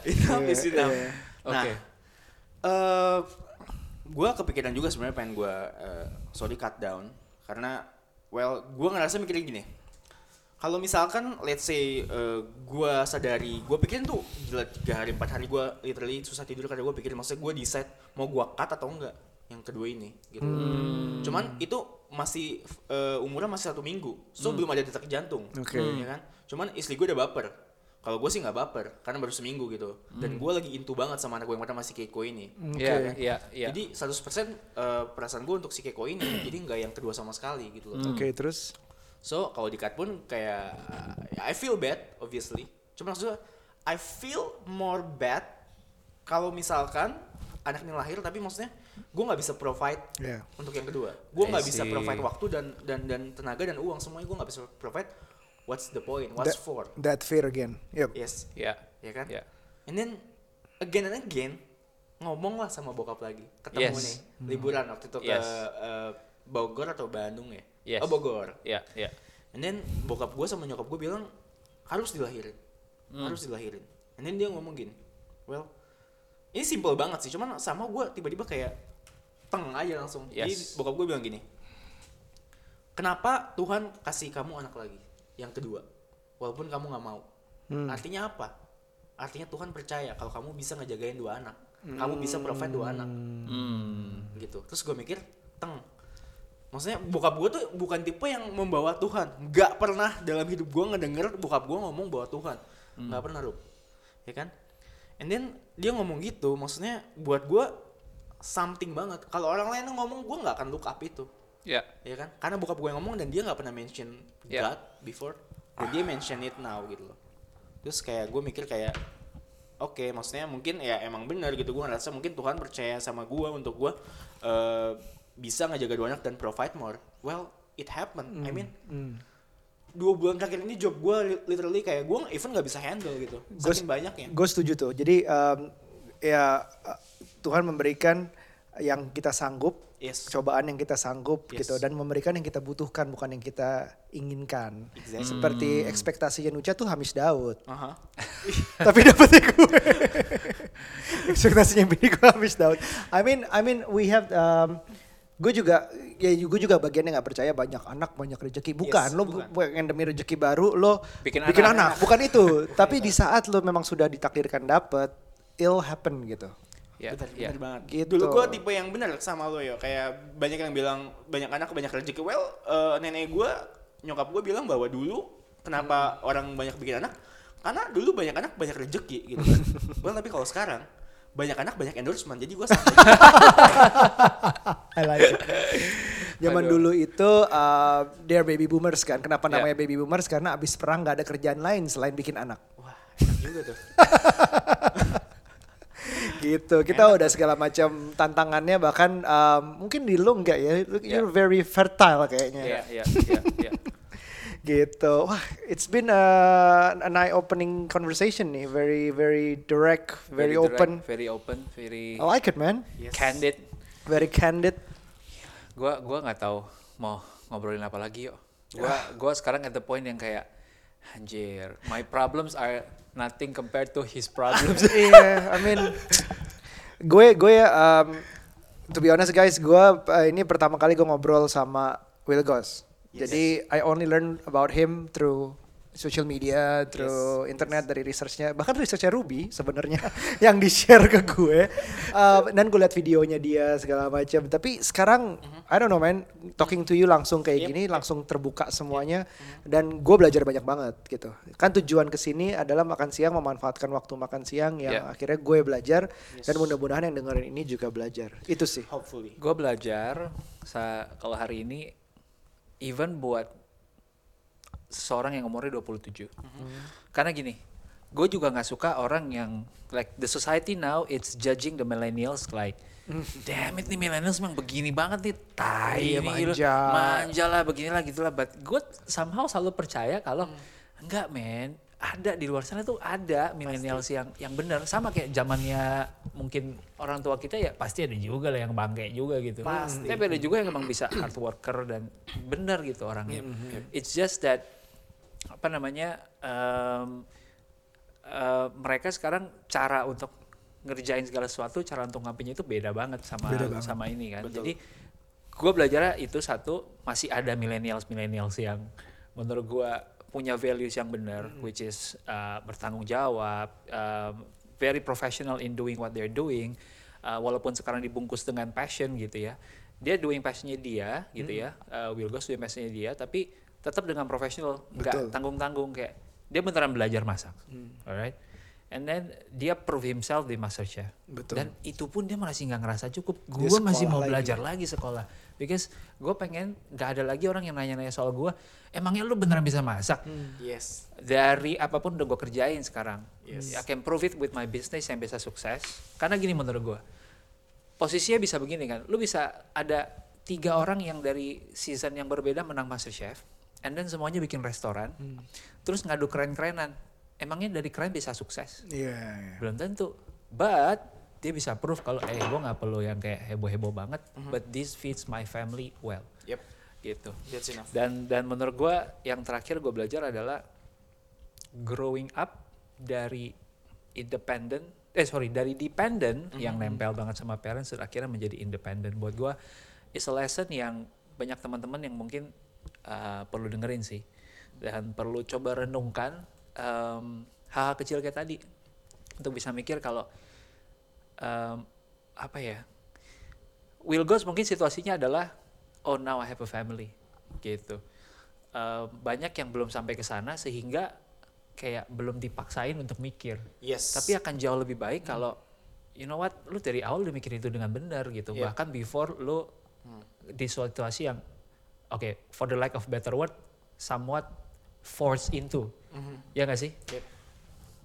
Speaker 1: enough is
Speaker 3: Iya,
Speaker 1: enough.
Speaker 3: iya.
Speaker 1: Nah,
Speaker 2: Oke.
Speaker 1: eh, gua kepikiran juga sebenarnya pengen gue sorry cut down karena well gue ngerasa mikirnya gini. Kalau misalkan let's say eh, gua sadari, gue pikirin tuh gila tiga hari empat hari gua literally susah tidur karena gue pikirin maksudnya gue decide mau gua cut atau enggak yang kedua ini gitu. Cuman itu masih eh, umurnya masih satu minggu, so belum ada detak jantung.
Speaker 3: Oke.
Speaker 1: ya kan? Cuman istri gue udah baper. Kalau gue sih nggak baper, karena baru seminggu gitu. Dan gue lagi intu banget sama anak gue yang pertama si Keiko ini.
Speaker 2: Iya, iya, iya.
Speaker 1: Hmm, Jadi 100% eh, perasaan gue untuk si Keiko ini, jadi nggak yang kedua sama sekali gitu loh.
Speaker 3: Oke, terus?
Speaker 1: So kalau di cut pun kayak ya, I feel bad obviously. Cuma maksud gue, I feel more bad kalau misalkan anak ini lahir tapi maksudnya gue nggak bisa provide
Speaker 3: Iya.
Speaker 1: untuk yang kedua. Gue
Speaker 2: I
Speaker 1: nggak bisa
Speaker 2: see.
Speaker 1: provide waktu dan dan dan tenaga dan uang semuanya gue nggak bisa provide. What's the point? What's
Speaker 3: That-
Speaker 1: for?
Speaker 3: That fear again. Yep.
Speaker 1: Yes.
Speaker 2: Ya.
Speaker 1: Ya kan?
Speaker 2: Ya.
Speaker 1: And then again and again ngomong lah sama bokap lagi. Ketemu
Speaker 2: Yes.
Speaker 1: nih liburan waktu itu ke
Speaker 2: Yes.
Speaker 1: eh, Bogor atau Bandung ya?
Speaker 2: Yes.
Speaker 1: Oh Bogor.
Speaker 2: Ya, ya.
Speaker 1: And then bokap gue sama nyokap gue bilang harus dilahirin, harus dilahirin. And then dia ngomong gini, well ini simple banget sih, cuman sama gue tiba-tiba kayak teng aja langsung. Jadi
Speaker 2: Yes.
Speaker 1: bokap gue bilang gini, kenapa Tuhan kasih kamu anak lagi yang kedua, walaupun kamu nggak mau. Artinya apa? Artinya Tuhan percaya kalau kamu bisa ngejagain dua anak, kamu bisa provide dua anak
Speaker 2: Hmm.
Speaker 1: gitu terus gue mikir teng maksudnya bokap gue tuh bukan tipe yang membawa Tuhan nggak pernah dalam hidup gue ngedenger bokap gue ngomong bahwa Tuhan nggak pernah Rup ya kan and then dia ngomong gitu maksudnya buat gue something banget kalau orang lain ngomong gue nggak akan look up itu
Speaker 2: Ya.
Speaker 1: ya kan karena bokap gue yang ngomong dan dia nggak pernah mention
Speaker 2: Ya.
Speaker 1: God before dan dia mention it now gitu loh terus kayak gue mikir kayak oke maksudnya mungkin ya emang benar gitu gue ngerasa mungkin Tuhan percaya sama gue untuk gue eh, bisa ngejaga dua anak dan provide more well it happened I mean dua bulan terakhir ini job gue literally kayak gue even nggak bisa handle gitu
Speaker 3: Gua
Speaker 1: saking banyaknya
Speaker 3: Gue setuju tuh. Jadi em, ya eh, Tuhan memberikan yang kita sanggup,
Speaker 1: Yes.
Speaker 3: cobaan yang kita sanggup
Speaker 1: Yes.
Speaker 3: gitu dan memberikan yang kita butuhkan bukan yang kita inginkan.
Speaker 1: Exactly. Hmm.
Speaker 3: Seperti ekspektasinya Nucha tuh Hamis Daud,
Speaker 1: Aha.
Speaker 3: tapi dapetnya gue. ekspektasinya Bini gue Hamis Daud. I mean, I mean we have em, gue juga ya gue juga bagiannya nggak percaya banyak anak banyak rezeki bukan
Speaker 1: Yes,
Speaker 3: lo
Speaker 1: bukan.
Speaker 3: pengen demi rezeki baru lo
Speaker 2: Bikin anak.
Speaker 3: anak bukan itu
Speaker 1: Iya.
Speaker 3: tapi di saat lo memang sudah ditakdirkan dapet it'll happen gitu
Speaker 2: Ya,
Speaker 1: bener,
Speaker 2: ya.
Speaker 1: bener banget.
Speaker 3: Gitu.
Speaker 1: Dulu gue tipe yang bener sama lo yo. Kayak banyak yang bilang banyak anak banyak rezeki. Well, eh, nenek gue, nyokap gue bilang bahwa dulu kenapa orang banyak bikin anak? Karena dulu banyak anak banyak rezeki gitu. kan. well, tapi kalau sekarang banyak anak banyak endorsement. Jadi gue
Speaker 3: I like it. Zaman
Speaker 2: Aduh.
Speaker 3: dulu itu uh, they're baby boomers kan. Kenapa
Speaker 2: Yeah.
Speaker 3: namanya baby boomers? Karena abis perang gak ada kerjaan lain selain bikin anak.
Speaker 1: wah enak juga tuh.
Speaker 3: Gitu. Kita udah segala macam tantangannya bahkan um, mungkin di lu enggak ya. Lu- You're very fertile kayaknya.
Speaker 2: Ya, ya, ya, ya.
Speaker 3: Gitu. Wah, it's been uh, an eye opening conversation nih. Very very direct, very,
Speaker 2: direct,
Speaker 3: open.
Speaker 2: very open, very
Speaker 3: I like it man.
Speaker 1: Oh, Yes.
Speaker 2: candid.
Speaker 3: Very candid.
Speaker 2: Gua gua nggak tahu mau ngobrolin apa lagi yuk. Gua
Speaker 1: Ah.
Speaker 2: gua sekarang at the point yang kayak anjir, my problems are nothing compared to his problems.
Speaker 3: yeah, I mean Iya, Gue gue um, to be honest guys, gue uh, ini pertama kali gue ngobrol sama Will Goss. Jadi I only learn about him through social media, through internet dari researchnya, bahkan researchnya Ruby sebenarnya yang di share ke gue. Um, dan gue liat videonya dia segala macam. Tapi sekarang I don't know man, talking to you langsung kayak gini, langsung terbuka semuanya dan gue belajar banyak banget gitu. Kan tujuan kesini adalah makan siang memanfaatkan waktu makan siang yang
Speaker 2: Yeah.
Speaker 3: akhirnya gue belajar dan mudah-mudahan yang dengerin ini juga belajar. Itu sih.
Speaker 1: Hopefully.
Speaker 2: Gue belajar sa kalau hari ini even buat seorang yang umurnya 27.
Speaker 3: Mhm.
Speaker 2: Karena gini, gue juga nggak suka orang yang like the society now it's judging the millennials like damn it nih millennials memang begini banget nih tai
Speaker 3: Mhm. Iya,
Speaker 2: nih, gila.
Speaker 3: manja.
Speaker 2: manja lah beginilah gitulah but gue somehow selalu percaya kalau enggak men ada di luar sana tuh ada millennials yang yang benar sama kayak zamannya mungkin orang tua kita ya pasti ada juga lah yang bangke juga gitu
Speaker 1: Pasti.
Speaker 2: tapi ada juga yang emang bisa hard worker dan benar gitu orangnya it's just that apa namanya um, em, eh, mereka sekarang cara untuk ngerjain segala sesuatu cara untuk ngapainnya itu beda banget sama sama ini kan jadi gue belajar itu satu masih ada millennials millennials yang menurut gue punya values yang benar which is eh, bertanggung jawab em, very professional in doing what they're doing eh, walaupun sekarang dibungkus dengan passion gitu ya dia doing passionnya dia gitu ya eh, Will Goss doing passionnya dia tapi tetap dengan profesional
Speaker 3: Betul.
Speaker 2: nggak tanggung-tanggung kayak dia beneran belajar masak.
Speaker 3: Hmm.
Speaker 2: Alright. And then dia prove himself di MasterChef.
Speaker 3: Betul.
Speaker 2: Dan itu pun dia masih nggak ngerasa cukup.
Speaker 3: Dia
Speaker 2: Gue masih
Speaker 3: sekolah
Speaker 2: mau
Speaker 3: lagi.
Speaker 2: belajar lagi sekolah. Because gue pengen nggak ada lagi orang yang nanya-nanya soal gue. Emangnya lu beneran bisa masak?
Speaker 3: Hmm.
Speaker 1: Yes.
Speaker 2: Dari apapun udah gue kerjain sekarang.
Speaker 1: Yes.
Speaker 2: I can prove it with my business yang bisa sukses. Karena gini menurut gue. Posisinya bisa begini kan. Lu bisa ada tiga orang yang dari season yang berbeda menang MasterChef. And then semuanya bikin restoran.
Speaker 3: Hmm.
Speaker 2: Terus ngadu keren-kerenan. Emangnya dari keren bisa sukses?
Speaker 3: Iya.
Speaker 2: belum tentu but dia bisa proof kalau eh gue nggak perlu yang kayak heboh heboh banget
Speaker 3: Hmm.
Speaker 2: but this feeds my family well
Speaker 1: Yep.
Speaker 2: gitu
Speaker 1: That's enough.
Speaker 2: dan dan menurut gue yang terakhir gue belajar adalah growing up dari independent eh sorry dari dependent yang nempel banget sama parents dan akhirnya menjadi independent buat gue is a lesson yang banyak teman-teman yang mungkin uh, perlu dengerin sih dan perlu coba renungkan um, hal-hal kecil kayak tadi untuk bisa mikir kalau um, apa ya Will Goss mungkin situasinya adalah oh now I have a family gitu. Eh, banyak yang belum sampai ke sana sehingga kayak belum dipaksain untuk mikir.
Speaker 1: Yes.
Speaker 2: Tapi ya- akan jauh lebih baik kalau you know what lu dari awal udah mikir itu dengan benar gitu.
Speaker 1: Iya.
Speaker 2: Bahkan before lu di situasi yang oke for the lack of better word somewhat forced into. Ya gak sih?
Speaker 1: Yep.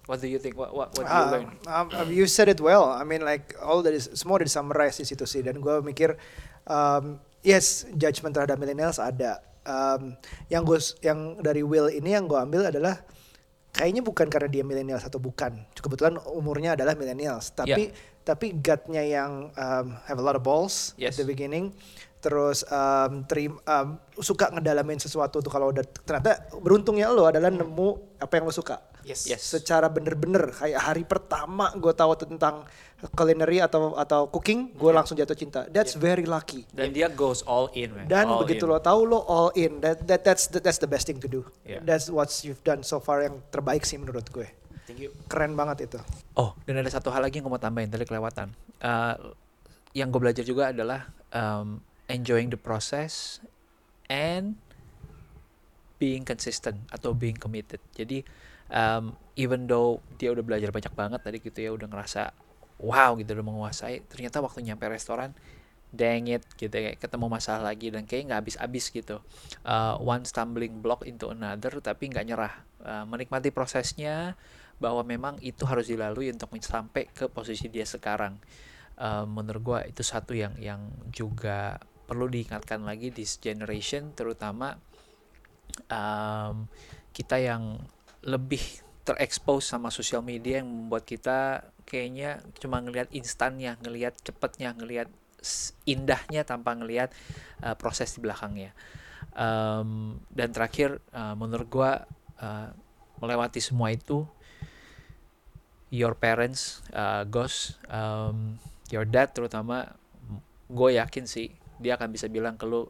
Speaker 2: What do you think? What what, what do you
Speaker 3: Ah,
Speaker 2: learn?
Speaker 3: um, um, you said it well. I mean like all that is semua udah di summarize di situ sih dan gue mikir um, yes judgement terhadap millennials ada. Um, yang gue yang dari Will ini yang gue ambil adalah kayaknya bukan karena dia millennials atau bukan. Kebetulan umurnya adalah millennials
Speaker 2: Ya.
Speaker 3: tapi tapi gutnya yang um, have a lot of balls
Speaker 2: Yes.
Speaker 3: at the beginning terus um, terim- um, suka ngedalamin sesuatu tuh kalau udah ternyata beruntungnya lo adalah nemu apa yang lo suka
Speaker 1: Yes.
Speaker 2: Yes.
Speaker 3: secara bener-bener kayak hari pertama gue tahu tentang culinary atau atau cooking gue langsung jatuh cinta that's very lucky
Speaker 2: Dan dia goes all in, man.
Speaker 3: iya. dan
Speaker 2: All
Speaker 3: begitu
Speaker 2: in.
Speaker 3: lo tahu lo all in that, that that's the, that's the best thing to do
Speaker 2: Yeah.
Speaker 3: that's what you've done so far yang terbaik sih menurut gue
Speaker 1: Thank you.
Speaker 3: keren banget itu
Speaker 2: Oh, dan ada satu hal lagi yang gue mau tambahin tadi kelewatan. Eh, yang gue belajar juga adalah um, enjoying the process and being consistent atau being committed. Jadi um, even though dia udah belajar banyak banget tadi gitu ya, udah ngerasa wow gitu udah menguasai, ternyata waktu nyampe restoran dang it gitu ya, kayak ketemu masalah lagi dan kayak nggak habis-habis gitu. Uh, one stumbling block into another tapi nggak nyerah. Uh, menikmati prosesnya bahwa memang itu harus dilalui untuk sampai ke posisi dia sekarang. Uh, menurut gua itu satu yang yang juga perlu diingatkan lagi this generation terutama um, kita yang lebih terekspos sama sosial media yang membuat kita kayaknya cuma ngelihat instannya, ngelihat cepetnya, ngelihat s- indahnya tanpa ngelihat uh, proses di belakangnya. Um, dan terakhir uh, menurut gua uh, melewati semua itu your parents uh, Ghost um, your dad terutama gue yakin sih dia akan bisa bilang ke lu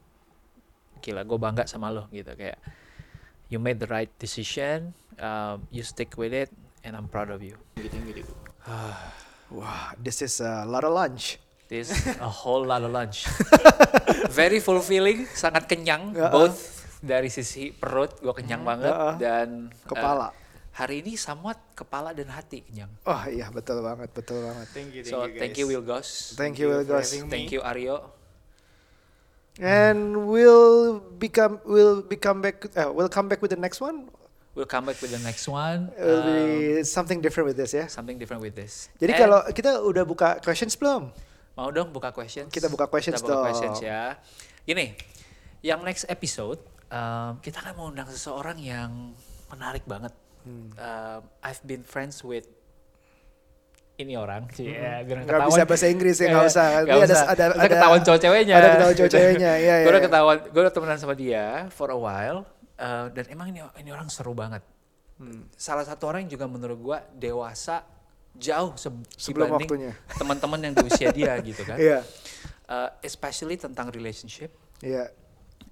Speaker 2: gila gue bangga sama lo gitu kayak you made the right decision um, you stick with it and I'm proud of you
Speaker 1: gitu gitu
Speaker 3: Wah, this is a lot of lunch.
Speaker 2: this a whole lot of lunch very fulfilling sangat kenyang both dari sisi perut gue kenyang banget
Speaker 3: ah. ya, ah.
Speaker 2: dan uh,
Speaker 3: Kepala.
Speaker 2: hari ini somewhat kepala dan hati kenyang
Speaker 3: Oh iya, betul banget, betul banget.
Speaker 1: thank you
Speaker 2: so thank you Will Goss
Speaker 3: Thank you, Will
Speaker 1: for
Speaker 3: Goss.
Speaker 1: having me.
Speaker 2: thank you Aryo
Speaker 3: And we'll become we'll become back uh, we'll come back with the next one.
Speaker 2: we'll come back with the next one
Speaker 3: It'll
Speaker 2: Um,
Speaker 3: be something different with this ya.
Speaker 2: something different with this
Speaker 3: Jadi
Speaker 2: And-
Speaker 3: kalau kita udah buka questions belum?
Speaker 2: Mau dong buka questions?
Speaker 3: Kita buka questions
Speaker 2: Kita buka
Speaker 3: dong.
Speaker 2: questions ya. Gini, yang next episode um, kita akan mengundang seseorang yang menarik banget.
Speaker 3: Hmm.
Speaker 2: Um, I've been friends with ini orang. Iya, biar
Speaker 3: Hmm. Nggak bisa bahasa Inggris ya, nggak
Speaker 2: Iya,
Speaker 3: usah.
Speaker 2: nggak
Speaker 3: Ini ada-
Speaker 2: usah.
Speaker 3: ada-
Speaker 2: Ntar
Speaker 3: ada-
Speaker 2: ketahuan cowok ceweknya.
Speaker 3: ada ketahuan cowok ceweknya, iya, iya,
Speaker 2: Gue udah
Speaker 3: iya.
Speaker 2: ketahuan, gue udah temenan sama dia for a while. uh, dan emang ini, ini orang seru banget.
Speaker 3: Hmm.
Speaker 2: Salah satu orang yang juga menurut gue dewasa jauh se-
Speaker 3: Sebelum
Speaker 2: dibanding
Speaker 3: waktunya.
Speaker 2: teman-teman yang di usia dia gitu kan.
Speaker 3: Iya.
Speaker 2: Uh, especially tentang relationship,
Speaker 3: Iya.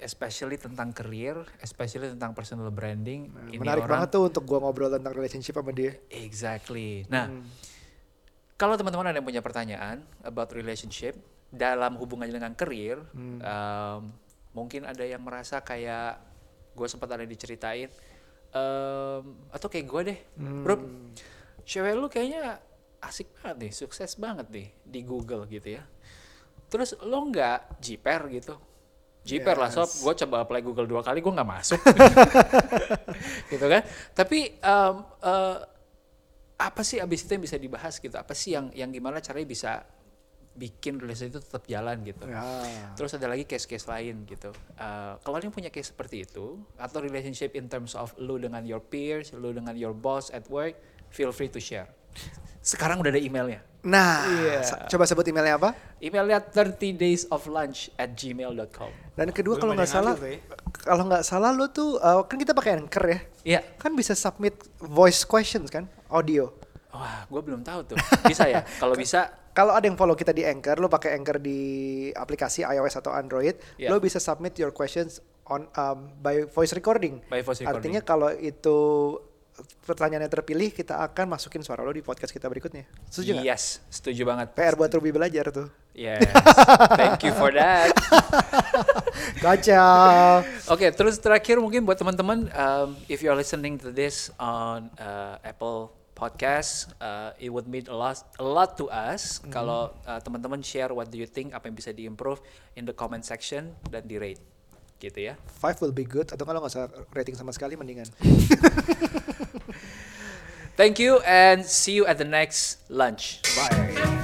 Speaker 2: especially tentang career, especially tentang personal branding. Ini
Speaker 3: Menarik
Speaker 2: orang-
Speaker 3: banget tuh untuk gua ngobrol tentang relationship sama dia.
Speaker 2: Exactly. Nah, kalau teman-teman ada yang punya pertanyaan about relationship dalam hubungan dengan career, um, mungkin ada yang merasa kayak gue sempat ada yang diceritain, um, atau kayak gue deh, bro, cewek lu kayaknya asik banget nih, sukses banget nih di Google gitu ya. Terus lo nggak jiper gitu? Jiper lah sob, gue coba apply Google dua kali gue nggak masuk gitu kan. Tapi em, eh, apa sih abis itu yang bisa dibahas gitu? Apa sih yang yang gimana caranya bisa bikin relationship itu tetap jalan gitu?
Speaker 3: Ya.
Speaker 2: Terus ada lagi case-case lain gitu. Eh, kalau yang punya case seperti itu atau relationship in terms of lu dengan your peers, lu dengan your boss at work, feel free to share. Sekarang udah ada emailnya.
Speaker 3: Nah,
Speaker 2: Iya.
Speaker 3: sa- coba sebut emailnya apa?
Speaker 2: Emailnya 30 days of lunch at gmail.com.
Speaker 3: Dan kedua
Speaker 1: Belum
Speaker 3: kalau
Speaker 1: ada
Speaker 3: nggak
Speaker 1: yang
Speaker 3: salah,
Speaker 1: aktif,
Speaker 3: kalau nggak salah lo tuh uh, kan kita pakai anchor ya,
Speaker 2: Iya.
Speaker 3: kan bisa submit voice questions kan, audio.
Speaker 2: Wah, gue belum tahu tuh. Bisa ya? Kalau bisa
Speaker 3: Kalau ada yang follow kita di Anchor, lo pakai Anchor di aplikasi iOS atau Android,
Speaker 2: Iya.
Speaker 3: lo bisa submit your questions on um, by voice recording.
Speaker 2: By voice recording.
Speaker 3: Artinya kalau itu pertanyaannya terpilih, kita akan masukin suara lo di podcast kita berikutnya. Setuju nggak?
Speaker 2: Yes, setuju banget.
Speaker 3: PR buat Ruby belajar tuh.
Speaker 2: Yes. Thank you for that.
Speaker 3: Kacau.
Speaker 2: Oke, terus terakhir mungkin buat teman-teman um, if you're listening to this on uh, Apple Podcast, uh, it would mean a lot a lot to us kalau uh, teman-teman share what do you think apa yang bisa diimprove in the comment section dan di rate. Gitu ya.
Speaker 3: Five will be good. Atau kalau nggak usah rating sama sekali, mendingan.
Speaker 2: Thank you and see you at the next lunch.
Speaker 3: Bye.